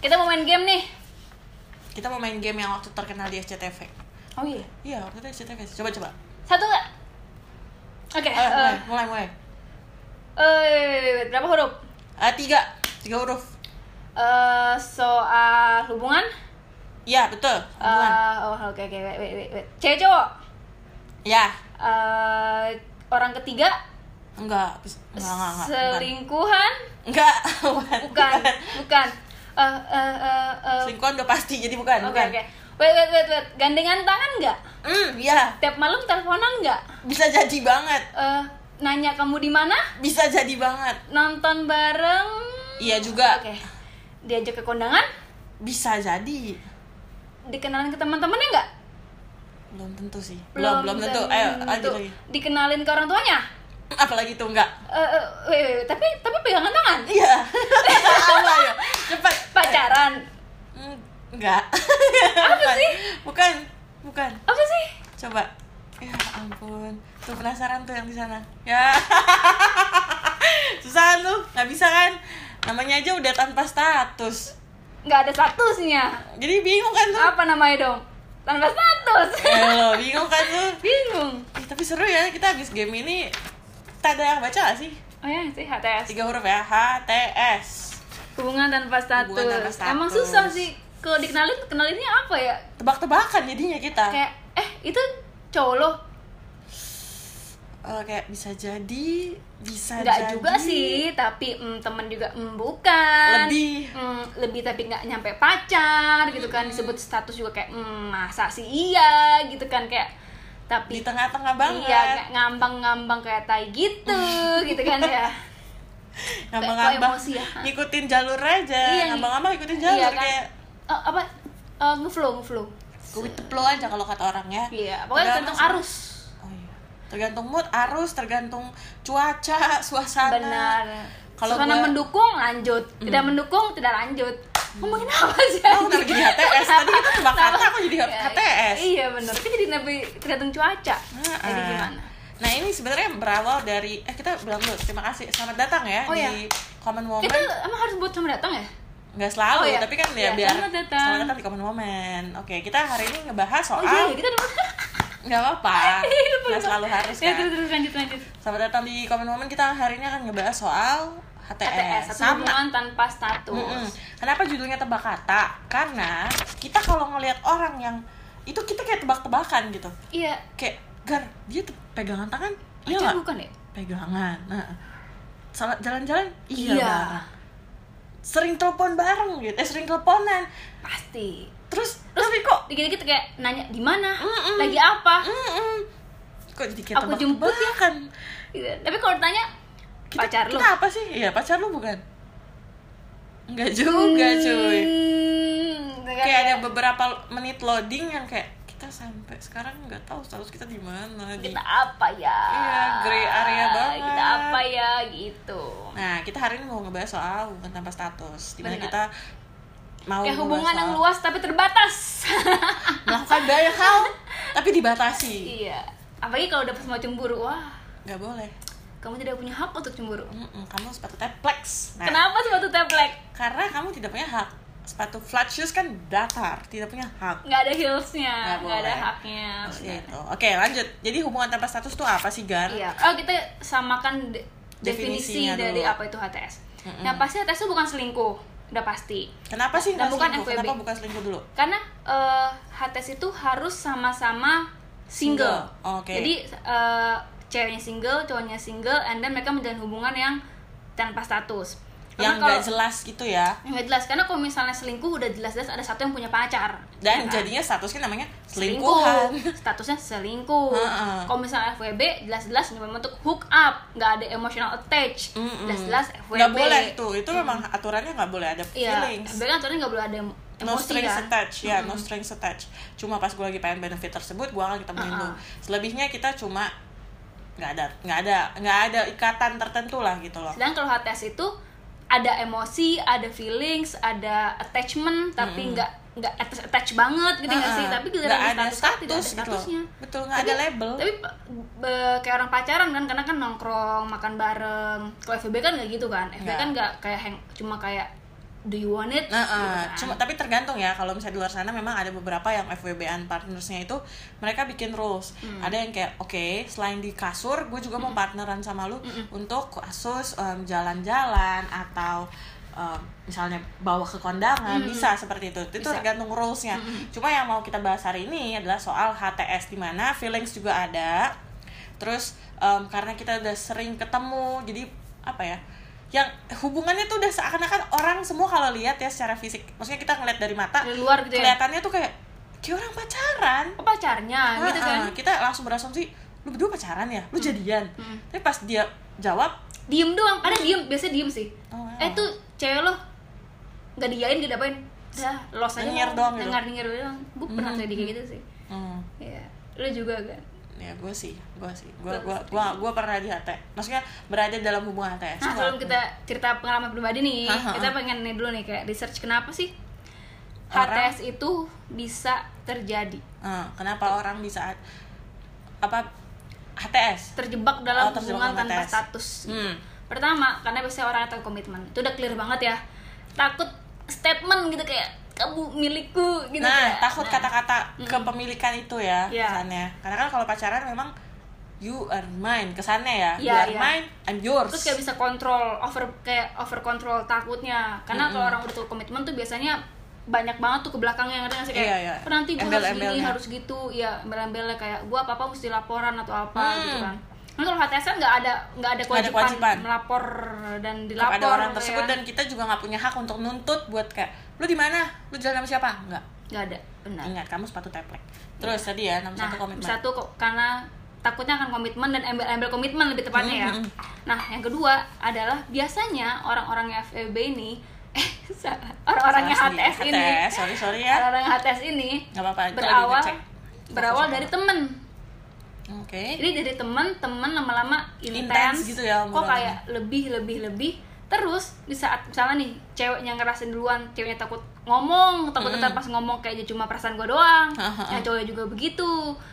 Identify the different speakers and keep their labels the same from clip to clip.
Speaker 1: Kita mau main game nih.
Speaker 2: Kita mau main game yang waktu terkenal di SCTV.
Speaker 1: Oh iya.
Speaker 2: Iya, waktu itu SCTV. Coba coba.
Speaker 1: Satu nggak? Oke.
Speaker 2: Ayo,
Speaker 1: eh,
Speaker 2: mulai, mulai, mulai.
Speaker 1: eh, berapa huruf?
Speaker 2: Ah, tiga, tiga huruf.
Speaker 1: Eh, soal hubungan?
Speaker 2: Iya, betul.
Speaker 1: Eh,
Speaker 2: Hubungan.
Speaker 1: oh oke oke wait wait wait. wait. Cewek cowok?
Speaker 2: ya,
Speaker 1: Eh, orang ketiga?
Speaker 2: enggak, bis- enggak, enggak, enggak. bukan.
Speaker 1: selingkuhan?
Speaker 2: Enggak, bukan.
Speaker 1: Bukan, bukan. Eh eh eh eh,
Speaker 2: Selingkuhan udah pasti, jadi
Speaker 1: Oke
Speaker 2: bukan, bukan.
Speaker 1: oke. Wait wait wait wait. Gandengan tangan nggak?
Speaker 2: Hmm, iya,
Speaker 1: Tiap malam teleponan nggak?
Speaker 2: bisa jadi banget.
Speaker 1: Eh, nanya kamu di mana?
Speaker 2: Bisa jadi banget.
Speaker 1: Nonton bareng?
Speaker 2: Iya juga.
Speaker 1: Oke. Diajak ke kondangan?
Speaker 2: Bisa jadi.
Speaker 1: Dikenalin ke teman-temannya nggak?
Speaker 2: Belum tentu sih. Belum, belum tentu. Ayo, lanjut lagi.
Speaker 1: Dikenalin ke orang tuanya?
Speaker 2: Apalagi tuh enggak.
Speaker 1: Eh, eh, wait, wait, wait. tapi tapi pegangan tangan?
Speaker 2: Iya. Apa ya? Cepat.
Speaker 1: Pacaran?
Speaker 2: Hmm, Enggak.
Speaker 1: Apa
Speaker 2: bukan.
Speaker 1: sih?
Speaker 2: Bukan. Bukan.
Speaker 1: Apa sih?
Speaker 2: Coba. Ya ampun. Tuh penasaran tuh yang di sana. Ya. Susah lu. Nggak bisa kan? Namanya aja udah tanpa status.
Speaker 1: Nggak ada statusnya.
Speaker 2: Jadi bingung kan tuh?
Speaker 1: Apa namanya dong? Tanpa status.
Speaker 2: Eh, lo bingung kan tuh?
Speaker 1: Bingung.
Speaker 2: Ih, tapi seru ya kita habis game ini. Kita ada yang baca gak sih?
Speaker 1: Oh ya, sih HTS.
Speaker 2: Tiga huruf ya. HTS.
Speaker 1: Hubungan tanpa status.
Speaker 2: Hubungan tanpa status.
Speaker 1: Emang susah sih. Kalau dikenalin, kenalinnya apa ya?
Speaker 2: Tebak-tebakan jadinya kita.
Speaker 1: Kayak, eh itu cowok lo?
Speaker 2: Eh, kayak bisa jadi, bisa jadi.
Speaker 1: Nggak juga sih, tapi mm, temen juga mm, bukan.
Speaker 2: Lebih.
Speaker 1: Mm, lebih tapi nggak nyampe pacar gitu kan. Disebut status juga kayak, mm, masa sih iya gitu kan. Kayak,
Speaker 2: Di
Speaker 1: tapi
Speaker 2: tengah-tengah Gitu banget.
Speaker 1: iya kayak ngambang-ngambang kayak tai gitu gitu kan ya. Kayak
Speaker 2: ngambang-ngambang
Speaker 1: emosi ya.
Speaker 2: ngikutin jalur aja
Speaker 1: Iya,
Speaker 2: ngambang-ngambang ikutin jalur
Speaker 1: kan.
Speaker 2: kayak
Speaker 1: Eh, apa? Eh, ngeflow, ngeflow.
Speaker 2: gue teplo aja kalau kata orang ya
Speaker 1: Iya, pokoknya
Speaker 2: Tergantung-
Speaker 1: tergantung arus.
Speaker 2: oh, iya. tergantung mood arus tergantung cuaca suasana
Speaker 1: Benar.
Speaker 2: Kalau
Speaker 1: Kalau Suasana
Speaker 2: gua- Hmm.
Speaker 1: mendukung lanjut, tidak mendukung tidak lanjut. Ngomongin apa sih?
Speaker 2: Oh, kenapa jadi HTS? Tadi kita tebak
Speaker 1: Kenapa?
Speaker 2: kata, kok jadi
Speaker 1: Iya,
Speaker 2: HTS?
Speaker 1: Iya benar. Kan jadi lebih tergantung cuaca.
Speaker 2: Nah,
Speaker 1: Jadi
Speaker 2: ah.
Speaker 1: gimana?
Speaker 2: nah ini sebenarnya berawal dari eh kita bilang dulu terima kasih selamat datang ya
Speaker 1: Oh,
Speaker 2: di
Speaker 1: iya.
Speaker 2: Common Woman
Speaker 1: Kita emang harus buat sama datang ya?
Speaker 2: nggak selalu
Speaker 1: Oh, iya.
Speaker 2: tapi kan
Speaker 1: Iya,
Speaker 2: ya biar
Speaker 1: selamat datang.
Speaker 2: selamat datang di Common Woman oke kita hari ini ngebahas
Speaker 1: Oh
Speaker 2: soal
Speaker 1: iya, ya, kita dulu.
Speaker 2: nggak apa-apa
Speaker 1: Lupa,
Speaker 2: nggak
Speaker 1: lupa.
Speaker 2: selalu harus
Speaker 1: Ya,
Speaker 2: kan
Speaker 1: terus terus lanjut lanjut.
Speaker 2: Selamat datang di Common Woman. Kita hari ini akan ngebahas soal HTS,
Speaker 1: HTS, satu
Speaker 2: sama.
Speaker 1: hubungan tanpa status.
Speaker 2: Mm-mm. Kenapa judulnya tebak kata? Karena kita kalau ngelihat orang yang itu kita kayak tebak-tebakan gitu.
Speaker 1: Iya.
Speaker 2: Kayak gar, dia tuh pegangan tangan. Iya
Speaker 1: Pacar
Speaker 2: nggak?
Speaker 1: bukan ya?
Speaker 2: Pegangan. Nah, salah jalan-jalan.
Speaker 1: Iya.
Speaker 2: Iya. bareng. Sering telepon bareng gitu. Eh, sering teleponan.
Speaker 1: Pasti.
Speaker 2: Terus, tapi kok
Speaker 1: Dikit-dikit kayak nanya di mana,
Speaker 2: Mm-mm.
Speaker 1: lagi apa.
Speaker 2: mm-mm. kok jadi kayak
Speaker 1: Aku jemput ya.
Speaker 2: tebak-tebakan?
Speaker 1: Gitu. Tapi kalau ditanya
Speaker 2: Kita-
Speaker 1: pacar lu.
Speaker 2: kita apa sih? Iya, pacar lu bukan? Enggak juga, cuy.
Speaker 1: Hmm,
Speaker 2: kayak ada beberapa menit loading yang kayak kita sampai sekarang nggak tahu status kita di mana gitu. di
Speaker 1: kita apa ya
Speaker 2: Iya, grey area banget.
Speaker 1: kita apa ya gitu
Speaker 2: nah kita hari ini mau ngebahas soal hubungan tanpa status dimana
Speaker 1: Benar.
Speaker 2: kita mau
Speaker 1: kayak
Speaker 2: ngebahas
Speaker 1: hubungan yang
Speaker 2: soal
Speaker 1: luas tapi terbatas
Speaker 2: melakukan banyak hal tapi dibatasi
Speaker 1: iya apalagi kalau dapat semua cemburu wah
Speaker 2: nggak boleh
Speaker 1: kamu tidak punya hak untuk cemburu
Speaker 2: Mm-mm, kamu sepatu tepleks nah,
Speaker 1: kenapa sepatu teplek
Speaker 2: karena kamu tidak punya hak sepatu flat shoes kan datar tidak punya hak
Speaker 1: nggak ada heelsnya
Speaker 2: Nggak
Speaker 1: nggak ada
Speaker 2: boleh.
Speaker 1: haknya
Speaker 2: gitu oke lanjut jadi hubungan tanpa status tuh apa sih gar
Speaker 1: iya oh kita samakan de- definisi
Speaker 2: Definisinya
Speaker 1: dari
Speaker 2: dulu.
Speaker 1: apa itu HTS nah pasti HTS itu bukan selingkuh udah pasti
Speaker 2: kenapa sih
Speaker 1: Nah,
Speaker 2: nggak
Speaker 1: bukan
Speaker 2: selingkuh
Speaker 1: FWB.
Speaker 2: kenapa bukan selingkuh dulu
Speaker 1: karena eh, HTS itu harus sama-sama single.
Speaker 2: Single, oke.
Speaker 1: Jadi eh, ceweknya single, cowoknya single, and then mereka menjalin hubungan yang tanpa status. Karena
Speaker 2: yang
Speaker 1: kalau
Speaker 2: nggak jelas gitu ya
Speaker 1: yang nggak jelas, karena kalau misalnya selingkuh udah jelas-jelas ada satu yang punya pacar. Ya
Speaker 2: dan
Speaker 1: kan?
Speaker 2: jadinya statusnya namanya selingkuhan
Speaker 1: Selingkuh. statusnya selingkuh.
Speaker 2: Heeh.
Speaker 1: Kalau misalnya FWB jelas-jelas cuma bentuk hook up, nggak ada emotional attach,
Speaker 2: Mm-mm.
Speaker 1: jelas-jelas FWB.
Speaker 2: nggak boleh tuh itu memang aturannya nggak boleh ada
Speaker 1: Iya,
Speaker 2: feelings
Speaker 1: FWB kan aturannya nggak boleh ada em-
Speaker 2: no
Speaker 1: emosi
Speaker 2: strings
Speaker 1: kan.
Speaker 2: attached ya no strings attached cuma pas gue lagi pengen benefit tersebut gue akan ketemuin lu
Speaker 1: Uh-uh.
Speaker 2: selebihnya kita cuma nggak ada nggak ada nggak ada ikatan tertentu lah gitu loh
Speaker 1: Sedangkan kalau HTS itu ada emosi, ada feelings, ada attachment, tapi nggak nggak attach attach banget gitu nggak sih?
Speaker 2: Uh-uh.
Speaker 1: Tapi giliran di
Speaker 2: Nggak ada
Speaker 1: status, kan tidak ada
Speaker 2: status gitu loh.
Speaker 1: statusnya.
Speaker 2: betul nggak ada label
Speaker 1: Tapi be- kayak orang pacaran kan, karena kan nongkrong, makan bareng. Kalau FB kan nggak gitu kan? FB
Speaker 2: Nggak.
Speaker 1: kan nggak kayak hang, cuma kayak do you want it
Speaker 2: Nah,
Speaker 1: Gitu
Speaker 2: eh,
Speaker 1: kan.
Speaker 2: cuma tapi tergantung ya. Kalau misalnya di luar sana memang ada beberapa yang FWB-an partnersnya itu mereka bikin rules. Ada yang kayak oke, selain di kasur, gue juga mau partneran sama lu untuk kasus em, jalan-jalan atau em, misalnya bawa ke kondangan bisa seperti itu. Itu
Speaker 1: Bisa.
Speaker 2: tergantung rules-nya. Cuma yang mau kita bahas hari ini adalah soal HTS di mana feelings juga ada. Terus em, karena kita udah sering ketemu, jadi apa ya? Yang hubungannya tuh udah seakan-akan orang semua kalau lihat ya secara fisik, maksudnya kita ngeliat dari mata,
Speaker 1: dari luar gitu ya
Speaker 2: kelihatannya tuh kayak kayak orang pacaran.
Speaker 1: oh, pacarnya gitu
Speaker 2: Ah,
Speaker 1: kan
Speaker 2: ah, Kita langsung berasumsi lu berdua pacaran ya, lu jadian.
Speaker 1: Hmm.
Speaker 2: Tapi pas dia jawab,
Speaker 1: diem doang ada diem biasanya diem sih
Speaker 2: oh,
Speaker 1: eh tuh cewek lo nggak diain nggak dapain dah los aja lo.
Speaker 2: Nyengir doang gitu.
Speaker 1: dengar dengar doang gue pernah
Speaker 2: Hmm.
Speaker 1: terjadi kayak gitu sih
Speaker 2: hmm,
Speaker 1: Iya lo juga kan
Speaker 2: ya gue sih, gue sih, gue gue gue gue pernah di HT, maksudnya berada dalam hubungan HTS.
Speaker 1: Nah, sebelum kita cerita pengalaman pribadi nih,
Speaker 2: Hah, hah,
Speaker 1: kita pengen nih dulu nih kayak research kenapa sih
Speaker 2: Orang-
Speaker 1: HTS itu bisa terjadi,
Speaker 2: Eh, kenapa orang di saat apa HTS?
Speaker 1: terjebak dalam
Speaker 2: Oh, terjebak
Speaker 1: hubungan
Speaker 2: dalam
Speaker 1: tanpa
Speaker 2: HTS.
Speaker 1: status.
Speaker 2: Hmm.
Speaker 1: Pertama, karena biasanya orang atau komitmen. Itu udah clear banget ya. Takut statement gitu kayak kamu milikku gitu
Speaker 2: nah,
Speaker 1: kayak.
Speaker 2: takut
Speaker 1: Nah,
Speaker 2: kata-kata kepemilikan itu ya
Speaker 1: Iya.
Speaker 2: kesannya. Karena kan kalau pacaran memang you are mine kesannya ya.
Speaker 1: Iya,
Speaker 2: you are
Speaker 1: iya.
Speaker 2: mine, I'm yours.
Speaker 1: terus kayak bisa kontrol over kayak over control takutnya karena kalau orang udah tuh komitmen tuh biasanya banyak banget tuh ke belakangnya ngerti nggak sih kayak
Speaker 2: Iya, iya.
Speaker 1: "Oh, nanti gue harus gini
Speaker 2: Embel-embelnya.
Speaker 1: harus gitu ya embel-embelnya kayak gue apa apa mesti laporan atau apa
Speaker 2: Hmm.
Speaker 1: gitu kan kan kalau HTS kan nggak ada nggak ada
Speaker 2: Nggak ada
Speaker 1: kewajiban,
Speaker 2: kewajiban.
Speaker 1: melapor dan dilapor
Speaker 2: kepada orang
Speaker 1: gitu
Speaker 2: tersebut
Speaker 1: ya.
Speaker 2: dan kita juga nggak punya hak untuk nuntut buat kayak lu di mana? Lu jalan sama siapa? Enggak.
Speaker 1: nggak ada benar
Speaker 2: Ingat kamu sepatu teplek. Terus tadi ya nomor
Speaker 1: nah
Speaker 2: satu komitmen.
Speaker 1: satu kok karena takutnya akan komitmen dan embel-embel komitmen lebih tepatnya ya
Speaker 2: Hmm, hmm,
Speaker 1: nah yang kedua adalah biasanya orang-orang yang FEB ini eh salah orang-orang yang
Speaker 2: Salah sendiri.
Speaker 1: HTS ini
Speaker 2: HTS, sorry sorry ya.
Speaker 1: orang-orang yang HTS ini
Speaker 2: Enggak apa-apa. Nah, itu lagi
Speaker 1: berawal
Speaker 2: ngecek.
Speaker 1: berawal dari temen
Speaker 2: Oke.
Speaker 1: jadi dari temen temen lama-lama
Speaker 2: Intens
Speaker 1: intens
Speaker 2: gitu ya,
Speaker 1: kok
Speaker 2: obrolannya.
Speaker 1: kayak lebih lebih lebih terus di saat misalnya nih ceweknya ngerasain duluan ceweknya takut ngomong takut ntar pas ngomong kayaknya cuma perasaan gue doang
Speaker 2: Hahaha.
Speaker 1: yang cowoknya juga begitu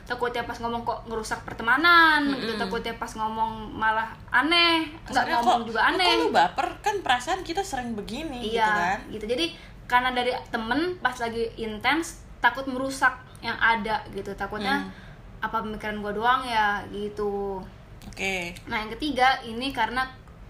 Speaker 1: takutnya pas ngomong kok ngerusak pertemanan gitu takutnya pas ngomong malah aneh nggak
Speaker 2: Kesannya
Speaker 1: ngomong
Speaker 2: kok-
Speaker 1: juga aneh
Speaker 2: Kok lu baper kan perasaan kita sering begini
Speaker 1: iya
Speaker 2: gitu kan.
Speaker 1: gitu jadi karena dari temen pas lagi intens takut merusak yang ada gitu takutnya
Speaker 2: Hmm.
Speaker 1: apa pemikiran gue doang ya gitu
Speaker 2: Oke.
Speaker 1: nah yang ketiga ini karena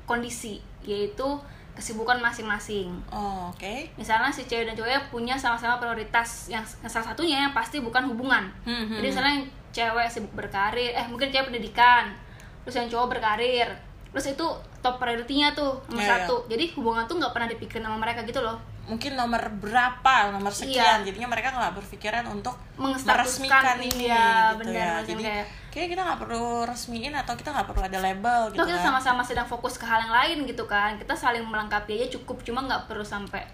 Speaker 1: kondisi yaitu kesibukan masing-masing
Speaker 2: Oh, oke.
Speaker 1: misalnya si cewek dan cowoknya punya sama-sama prioritas yang yang salah satunya yang pasti bukan hubungan
Speaker 2: Hmm, hmm,
Speaker 1: jadi misalnya yang cewek sibuk berkarir eh mungkin cewek pendidikan terus yang cowok berkarir terus itu top priority-nya tuh nomor
Speaker 2: Iya, iya.
Speaker 1: satu jadi hubungan tuh nggak pernah dipikirin sama mereka gitu loh
Speaker 2: Mungkin nomor berapa, nomor
Speaker 1: Iya.
Speaker 2: sekian. Jadinya mereka nggak berpikiran untuk
Speaker 1: mengestatuskan
Speaker 2: meresmikan ini
Speaker 1: iya benar
Speaker 2: gitu ya.
Speaker 1: maksudnya
Speaker 2: Jadi
Speaker 1: kayak
Speaker 2: kayaknya kita nggak perlu resmiin atau kita nggak perlu ada label gitu
Speaker 1: Toh kita
Speaker 2: kan.
Speaker 1: sama-sama sedang fokus ke hal yang lain gitu kan kita saling melengkapi aja cukup cuma nggak perlu sampai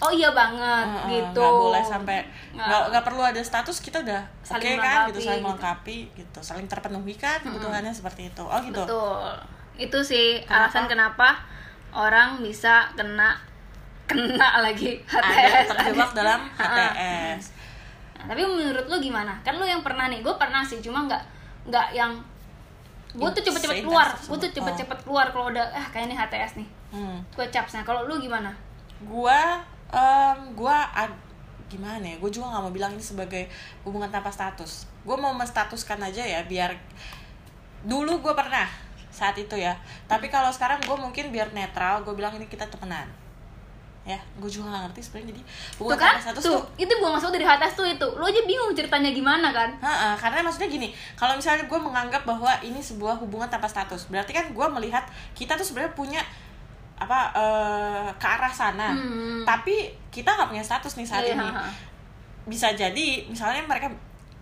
Speaker 1: oh iya banget
Speaker 2: Heeh,
Speaker 1: gitu
Speaker 2: nggak boleh sampai
Speaker 1: Nggak.
Speaker 2: nggak nggak perlu ada status kita udah oke
Speaker 1: Saling
Speaker 2: kan gitu
Speaker 1: melengkapi,
Speaker 2: saling
Speaker 1: gitu.
Speaker 2: melengkapi gitu saling terpenuhi kan kebutuhannya seperti itu oh gitu
Speaker 1: betul itu sih alasan kenapa orang bisa kena kena lagi
Speaker 2: ada
Speaker 1: HTS
Speaker 2: terjebak dalam
Speaker 1: Heeh.
Speaker 2: HTS
Speaker 1: Nah, tapi menurut lu gimana kan lu yang pernah nih gue pernah sih cuma nggak nggak yang gue tuh cepet-cepet
Speaker 2: Seintens
Speaker 1: keluar
Speaker 2: tersebut.
Speaker 1: gue tuh
Speaker 2: Oh.
Speaker 1: cepet-cepet keluar kalau udah ah kayaknya ini HTS nih
Speaker 2: hmm.
Speaker 1: gue capsnya kalau lu gimana
Speaker 2: gua em, gua ad- gimana ya gue juga nggak mau bilang ini sebagai hubungan tanpa status gue mau menstatuskan aja ya biar dulu gue pernah saat itu ya tapi kalau sekarang gue mungkin biar netral gue bilang ini kita temenan ya gue juga gak ngerti sebenarnya jadi hubungan
Speaker 1: tuh kan
Speaker 2: tanpa status
Speaker 1: tuh
Speaker 2: tuh
Speaker 1: itu gua masuk dari atas tuh itu lo aja bingung ceritanya gimana kan
Speaker 2: Ha-ha, karena maksudnya gini, kalau misalnya gue menganggap bahwa ini sebuah hubungan tanpa status, berarti kan gue melihat kita tuh sebenarnya punya apa eh, ke arah sana,
Speaker 1: Hmm.
Speaker 2: tapi kita nggak punya status nih saat
Speaker 1: Iya,
Speaker 2: ini.
Speaker 1: ha-ha.
Speaker 2: Bisa jadi misalnya mereka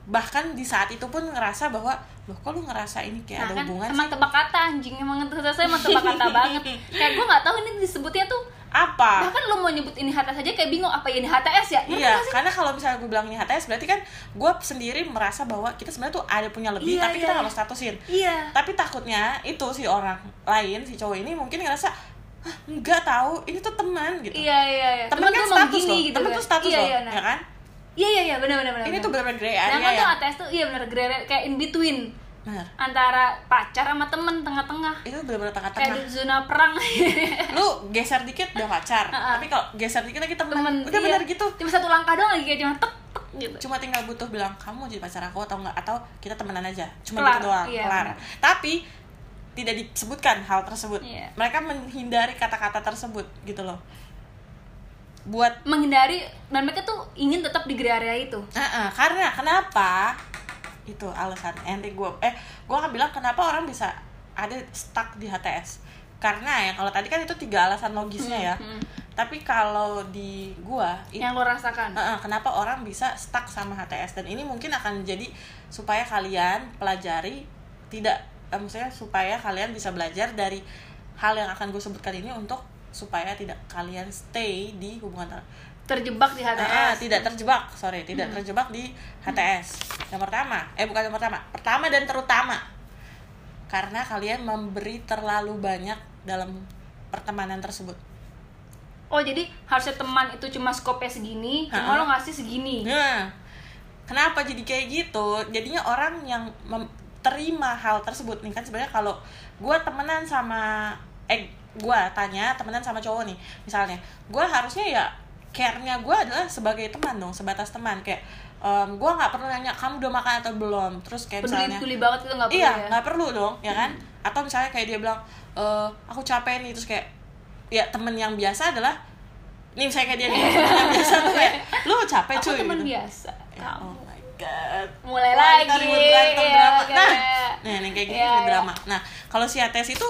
Speaker 2: bahkan di saat itu pun ngerasa bahwa loh kok lu ngerasa ini
Speaker 1: nah
Speaker 2: kayak Ya, ada
Speaker 1: kan
Speaker 2: hubungan
Speaker 1: emang
Speaker 2: sih?
Speaker 1: tebak kata anjing emang itu saya emang tebak kata banget kayak gua nggak tahu ini disebutnya tuh
Speaker 2: apa?
Speaker 1: bahkan lo mau nyebut ini HTS aja kayak bingung apa ini HTS ya Ngerti
Speaker 2: Ah. Iya,
Speaker 1: Nah, nggak sih?
Speaker 2: karena kalau misalnya gue bilang ini HTS berarti kan gue sendiri merasa bahwa kita sebenarnya tuh ada punya lebih,
Speaker 1: Iya,
Speaker 2: tapi kita
Speaker 1: iya,
Speaker 2: nggak
Speaker 1: iya.
Speaker 2: mau statusin.
Speaker 1: iya
Speaker 2: tapi takutnya itu si orang lain si cowok ini mungkin ngerasa "Hah, nggak tahu ini tuh teman gitu
Speaker 1: iya iya iya
Speaker 2: teman kan
Speaker 1: tuh emang
Speaker 2: status loh teman
Speaker 1: kan.
Speaker 2: tuh status
Speaker 1: iya,
Speaker 2: loh
Speaker 1: iya, nah.
Speaker 2: ya kan
Speaker 1: iya iya iya benar benar benar
Speaker 2: ini tuh benar-benar gray
Speaker 1: nah
Speaker 2: area
Speaker 1: kan tuh
Speaker 2: ya
Speaker 1: HTS tuh iya benar gray area, kayak in between
Speaker 2: benar
Speaker 1: antara pacar sama temen tengah-tengah
Speaker 2: itu benar-benar
Speaker 1: kayak
Speaker 2: tengah-tengah
Speaker 1: di zona perang
Speaker 2: lu geser dikit udah pacar tapi kalau geser dikit lagi temen,
Speaker 1: temen
Speaker 2: udah
Speaker 1: iya.
Speaker 2: benar gitu
Speaker 1: cuma satu langkah doang lagi kayak cuma tek tek gitu
Speaker 2: cuma tinggal butuh bilang kamu jadi pacar aku atau enggak atau kita temenan aja cuma
Speaker 1: Kelar,
Speaker 2: gitu doang
Speaker 1: iya.
Speaker 2: kelar tapi tidak disebutkan hal tersebut
Speaker 1: Iya.
Speaker 2: mereka menghindari kata-kata tersebut gitu loh buat
Speaker 1: menghindari dan mereka tuh ingin tetap di gray area itu
Speaker 2: Heeh, karena kenapa itu alasan Enri gue eh gue akan bilang kenapa orang bisa ada stuck di HTS karena ya kalau tadi kan itu tiga alasan logisnya ya
Speaker 1: Hmm,
Speaker 2: tapi kalau di gua itu
Speaker 1: yang lo rasakan
Speaker 2: Heeh, kenapa orang bisa stuck sama HTS dan ini mungkin akan jadi supaya kalian pelajari tidak eh, maksudnya supaya kalian bisa belajar dari hal yang akan gue sebutkan ini untuk supaya tidak kalian stay di hubungan ter-
Speaker 1: terjebak di
Speaker 2: Ah,
Speaker 1: HTS
Speaker 2: tidak terjebak sorry tidak terjebak di HTS yang pertama eh bukan yang pertama pertama dan terutama karena kalian memberi terlalu banyak dalam pertemanan tersebut
Speaker 1: oh jadi harusnya teman itu cuma skopnya segini cuma
Speaker 2: Ha-ha.
Speaker 1: lo ngasih segini
Speaker 2: Nah, kenapa jadi kayak gitu? Jadinya orang yang mem- terima hal tersebut nih kan sebenarnya kalau gua temenan sama eh gua tanya temenan sama cowok nih misalnya, gua harusnya ya care-nya gua adalah sebagai teman dong, sebatas teman kayak em, gua nggak perlu nanya kamu udah makan atau belum, terus kayak
Speaker 1: peduli
Speaker 2: Iya, misalnya
Speaker 1: peduli banget itu nggak perlu
Speaker 2: iya
Speaker 1: ya Hmm.
Speaker 2: nggak perlu dong ya kan atau misalnya kayak dia bilang "Eh, aku capek nih terus kayak ya temen yang biasa adalah nih misalnya kayak dia nih, temen yang biasa tuh kayak lu capek
Speaker 1: aku
Speaker 2: cuy
Speaker 1: teman
Speaker 2: gitu.
Speaker 1: biasa
Speaker 2: Ya,
Speaker 1: kamu
Speaker 2: oh my god
Speaker 1: mulai
Speaker 2: Wah,
Speaker 1: lagi
Speaker 2: kita ribut berantem
Speaker 1: Iya,
Speaker 2: drama. nah
Speaker 1: kayak-
Speaker 2: nah yang kayak gini
Speaker 1: Iya,
Speaker 2: ribut
Speaker 1: iya.
Speaker 2: drama nah kalau si ates itu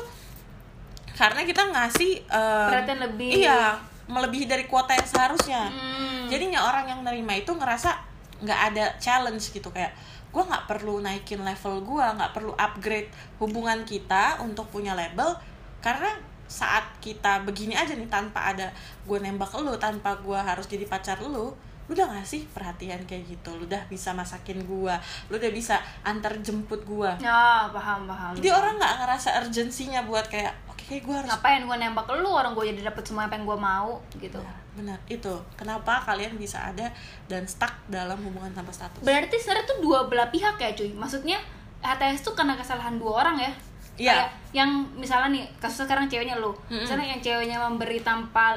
Speaker 2: karena kita ngasih em,
Speaker 1: Perhatian lebih.
Speaker 2: iya melebihi dari kuota yang seharusnya
Speaker 1: Hmm.
Speaker 2: jadinya orang yang nerima itu ngerasa nggak ada challenge gitu kayak gue nggak perlu naikin level gue nggak perlu upgrade hubungan kita untuk punya label karena saat kita begini aja nih tanpa ada gue nembak lu tanpa gue harus jadi pacar lu lu udah ngasih perhatian kayak gitu lu udah bisa masakin gue lu udah bisa antar jemput gue
Speaker 1: Ya, paham, paham.
Speaker 2: jadi orang nggak ngerasa urgensinya buat kayak oke gue harus
Speaker 1: ngapain gue nembak lu orang gue jadi dapet semua apa yang gue mau gitu.
Speaker 2: benar itu kenapa kalian bisa ada dan stuck dalam hubungan tanpa status
Speaker 1: Berarti sebenarnya tuh dua belah pihak ya, cuy. Maksudnya HTS tuh karena kesalahan dua orang ya.
Speaker 2: Iya.
Speaker 1: Kayak yang misalnya nih kasusnya sekarang ceweknya lu, misalnya yang ceweknya memberi tanpa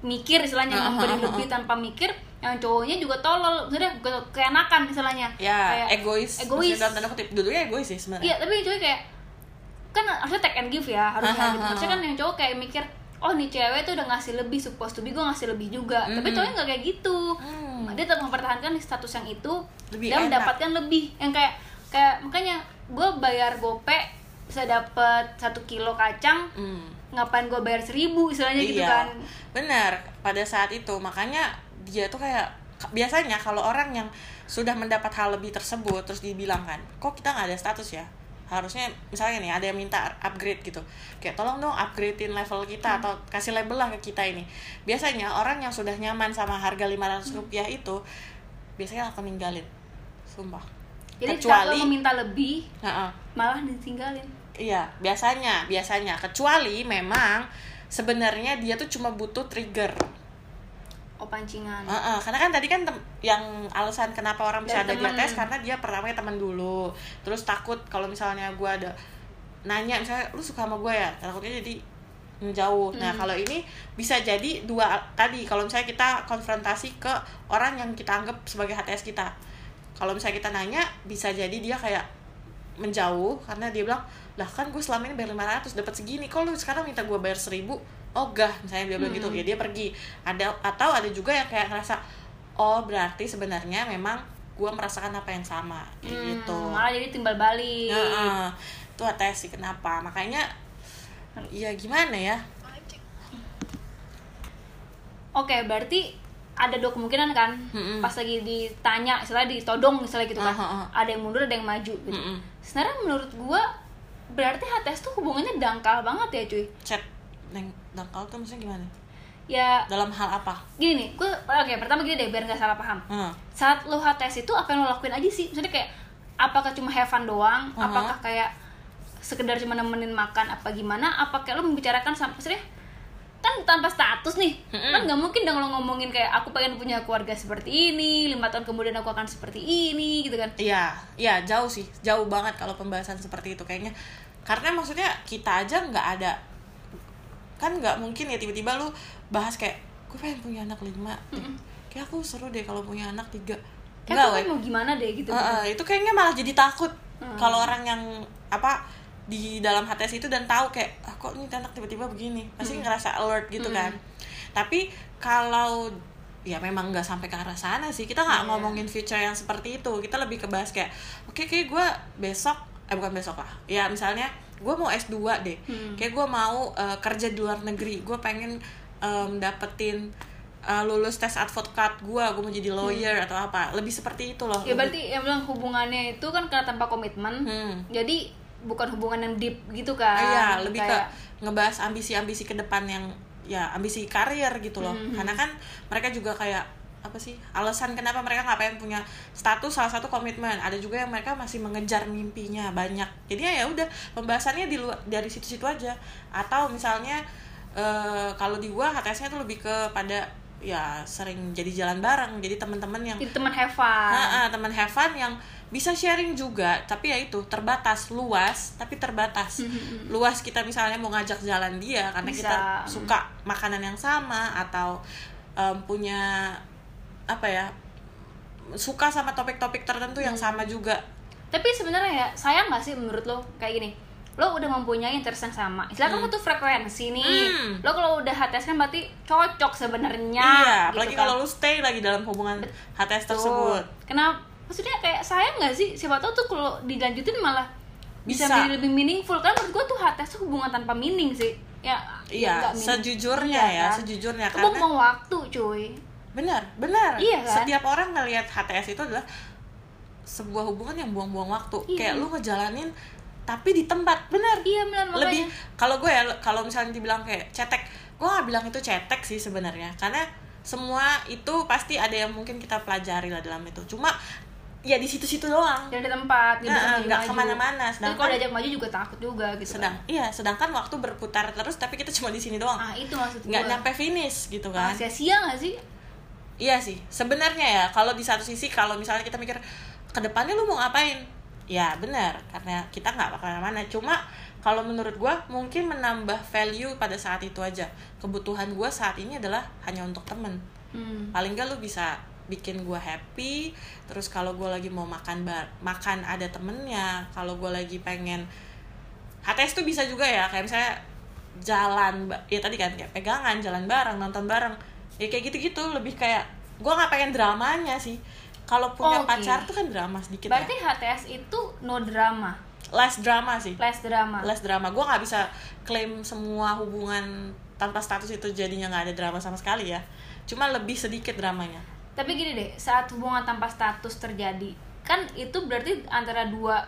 Speaker 1: mikir istilahnya
Speaker 2: Heeh,
Speaker 1: memberi
Speaker 2: heeh,
Speaker 1: lebih tanpa mikir, yang cowoknya juga tolol, misalnya ke- keenakan istilahnya.
Speaker 2: ya
Speaker 1: Kayak-
Speaker 2: egois
Speaker 1: egois.
Speaker 2: maksudnya dalam tanda kutip dulunya egois sih sebenarnya
Speaker 1: Iya, tapi cewek kayak kan harusnya take and give ya, harusnya
Speaker 2: Aha,
Speaker 1: gitu.
Speaker 2: aha,
Speaker 1: Harusnya kan yang cowok kayak mikir, "Oh, nih cewek tuh udah ngasih lebih, supposed to be gue ngasih lebih juga." Tapi
Speaker 2: Mhm.
Speaker 1: cowoknya nggak kayak gitu.
Speaker 2: Hmm.
Speaker 1: Dia tetap mempertahankan status yang itu
Speaker 2: Lebih
Speaker 1: dan
Speaker 2: enak.
Speaker 1: mendapatkan lebih. Yang kayak kayak makanya gue bayar gope bisa dapet satu kilo kacang,
Speaker 2: Hmm. Iya.
Speaker 1: ngapain gue bayar seribu istilahnya gitu kan?
Speaker 2: benar pada saat itu makanya dia tuh kayak biasanya kalau orang yang sudah mendapat hal lebih tersebut terus dibilang kan kok kita nggak ada status ya harusnya misalnya nih ada yang minta upgrade gitu kayak tolong dong upgradein level
Speaker 1: Hmm.
Speaker 2: kita atau kasih label lah ke kita ini biasanya orang yang sudah nyaman sama harga 500 rupiah itu biasanya akan ninggalin sumpah
Speaker 1: Jadi
Speaker 2: Kecuali-
Speaker 1: kecuali meminta lebih
Speaker 2: Nah,
Speaker 1: malah ditinggalin.
Speaker 2: Iya, biasanya, biasanya. Kecuali memang sebenarnya dia tuh cuma butuh trigger.
Speaker 1: Oh pancingan.
Speaker 2: Heeh, karena kan tadi kan tem- yang alasan kenapa orang bisa ada
Speaker 1: Dari
Speaker 2: di
Speaker 1: temen.
Speaker 2: atas karena dia pertamanya teman dulu. Terus takut kalau misalnya gua ada nanya misalnya lu suka sama gua ya, takutnya jadi menjauh. Nah, kalau ini bisa jadi dua al- tadi kalau misalnya kita konfrontasi ke orang yang kita anggap sebagai HTS kita. Kalau misalnya kita nanya, bisa jadi dia kayak menjauh karena dia bilang lah kan gue selama ini bayar 500 dapat segini kok lu sekarang minta gue bayar 1000 ogah misalnya dia bilang gitu ya dia pergi ada atau ada juga yang kayak ngerasa oh berarti sebenarnya memang gue merasakan apa yang sama kayak
Speaker 1: Hmm, iya.
Speaker 2: gitu Ah,
Speaker 1: Malah jadi timbal balik.
Speaker 2: Heeh. itu ates sih kenapa makanya ya gimana ya
Speaker 1: Oke, berarti ada dua kemungkinan kan?
Speaker 2: Mm-mm.
Speaker 1: Pas lagi ditanya, misalnya ditodong misalnya gitu kan.
Speaker 2: Ah, ah, Mm. ah.
Speaker 1: Ada yang mundur, ada yang maju gitu.
Speaker 2: Mm-mm.
Speaker 1: Sebenarnya menurut gua berarti HTS tuh hubungannya dangkal banget ya, cuy.
Speaker 2: chat neng dangkal tuh maksudnya gimana
Speaker 1: Ya
Speaker 2: dalam hal apa
Speaker 1: gini nih, gua oke, pertama gini deh biar nggak salah paham.
Speaker 2: Heeh.
Speaker 1: Saat lo HTS itu apa yang lo lakuin aja sih? Misalnya kayak apakah cuma have fun doang?
Speaker 2: Aha.
Speaker 1: Apakah kayak sekedar cuma nemenin makan apa gimana? Apa kayak lo membicarakan sampai maksudnya kan tanpa status nih
Speaker 2: Mm-mm.
Speaker 1: kan nggak mungkin dong lo ngomongin kayak aku pengen punya keluarga seperti ini lima tahun kemudian aku akan seperti ini gitu kan
Speaker 2: Iya, iya jauh sih, jauh banget kalau pembahasan seperti itu kayaknya. Karena maksudnya kita aja nggak ada, kan nggak mungkin ya tiba-tiba lu bahas kayak gue pengen punya anak lima, deh. kayak aku seru deh kalau punya anak tiga.
Speaker 1: kayak
Speaker 2: Nggak,
Speaker 1: aku
Speaker 2: weh.
Speaker 1: kan mau gimana deh gitu
Speaker 2: Eh,
Speaker 1: kan.
Speaker 2: eh, itu kayaknya malah jadi takut
Speaker 1: Hmm.
Speaker 2: kalau orang yang apa di dalam HTS itu dan tahu kayak ah, kok ini anak tiba-tiba begini pasti ngerasa alert gitu kan tapi kalau ya memang nggak sampai ke arah sana sih
Speaker 1: Iya.
Speaker 2: kita nggak ngomongin future yang seperti itu kita lebih ke bahas kayak oke kayak gue besok eh bukan besok lah ya misalnya gue mau S2 deh
Speaker 1: Hmm.
Speaker 2: kayak gue mau eh, kerja di luar negeri gue pengen em, dapetin eh, lulus tes advokat gue gue mau jadi lawyer atau apa lebih seperti itu loh
Speaker 1: Hmm. ya
Speaker 2: Lebih-
Speaker 1: berarti yang bilang hubungannya itu kan karena tanpa komitmen
Speaker 2: Hmm.
Speaker 1: jadi bukan hubungan yang deep gitu kan
Speaker 2: Ah, iya, lebih
Speaker 1: Kayak-
Speaker 2: ke ngebahas ambisi-ambisi ke depan yang ya ambisi karir gitu loh.
Speaker 1: Hmm,
Speaker 2: Karena kan mereka juga kayak apa sih alasan kenapa mereka nggak pengen punya status salah satu komitmen ada juga yang mereka masih mengejar mimpinya banyak jadi ya udah pembahasannya di luar dari situ-situ aja atau misalnya eh, kalau di gua HTS-nya tuh lebih ke pada ya sering jadi jalan bareng jadi teman-teman yang
Speaker 1: jadi teman have fun
Speaker 2: Nah, ah, teman have fun yang bisa sharing juga, tapi ya itu terbatas, luas, tapi
Speaker 1: Hmm,
Speaker 2: terbatas. Luas kita misalnya mau ngajak jalan dia karena
Speaker 1: Bisa.
Speaker 2: kita suka makanan yang sama atau em, punya apa ya? suka sama topik-topik tertentu yang
Speaker 1: Hmm.
Speaker 2: sama juga.
Speaker 1: tapi sebenarnya ya sayang nggak sih menurut lo kayak gini lo udah mempunyai interest yang sama istilahnya kan lo tuh frekuensi nih
Speaker 2: Hmm.
Speaker 1: lo kalau udah HTS kan berarti cocok sebenarnya gitu
Speaker 2: iya, apalagi
Speaker 1: kan.
Speaker 2: kalau lu stay lagi dalam hubungan HTS
Speaker 1: Tuh.
Speaker 2: tersebut.
Speaker 1: kenapa maksudnya kayak sayang nggak sih siapa tahu tuh kalau dilanjutin malah bisa,
Speaker 2: Bisa.
Speaker 1: menjadi lebih meaningful kan menurut gue tuh HTS tuh hubungan tanpa meaning sih ya ya
Speaker 2: Iya,
Speaker 1: nggak meaning.
Speaker 2: sejujurnya
Speaker 1: Iya
Speaker 2: ya,
Speaker 1: kan?
Speaker 2: sejujurnya
Speaker 1: itu
Speaker 2: karena
Speaker 1: mau waktu cuy
Speaker 2: Benar, benar.
Speaker 1: Iya kan?
Speaker 2: Setiap orang ngelihat HTS itu adalah sebuah hubungan yang buang-buang waktu.
Speaker 1: Iya.
Speaker 2: Kayak lu ngejalanin tapi di tempat, benar.
Speaker 1: iya benar makanya
Speaker 2: Lebih kalau gue ya kalau misalnya dibilang kayak cetek, gue nggak bilang itu cetek sih sebenarnya. Karena semua itu pasti ada yang mungkin kita pelajari lah dalam itu. Cuma ya di situ-situ doang.
Speaker 1: dari tempat gitu
Speaker 2: Nah,
Speaker 1: maju-maju.
Speaker 2: nggak kemana-mana.
Speaker 1: Tapi gitu. kalau
Speaker 2: Sedangkan
Speaker 1: diajak maju juga takut juga gitu kan.
Speaker 2: sedang iya, sedangkan waktu berputar terus tapi kita cuma di sini doang.
Speaker 1: ah itu maksud
Speaker 2: Nggak
Speaker 1: gue
Speaker 2: nyampe finish gitu
Speaker 1: Ah,
Speaker 2: kan.
Speaker 1: sia-sia nggak sih
Speaker 2: Iya sih, sebenarnya ya kalau di satu sisi kalau misalnya kita mikir ke depannya lu mau ngapain? Ya benar, karena kita nggak bakal mana-mana. Cuma kalau menurut gua mungkin menambah value pada saat itu aja. Kebutuhan gua saat ini adalah hanya untuk temen.
Speaker 1: hmm.
Speaker 2: Paling nggak lu bisa bikin gua happy. Terus kalau gua lagi mau makan bar makan ada temennya. Kalau gua lagi pengen HTS tuh bisa juga ya kayak misalnya jalan ba- ya tadi kan kayak pegangan jalan bareng nonton bareng ya kayak gitu-gitu lebih kayak gua nggak pengen dramanya sih kalau
Speaker 1: Oh,
Speaker 2: punya
Speaker 1: Oke.
Speaker 2: pacar tuh kan drama sedikit
Speaker 1: berarti
Speaker 2: ya
Speaker 1: HTS itu no drama
Speaker 2: less drama sih
Speaker 1: less drama
Speaker 2: less drama gua nggak bisa klaim semua hubungan tanpa status itu jadinya nggak ada drama sama sekali ya cuma lebih sedikit dramanya
Speaker 1: tapi gini deh saat hubungan tanpa status terjadi kan itu berarti antara dua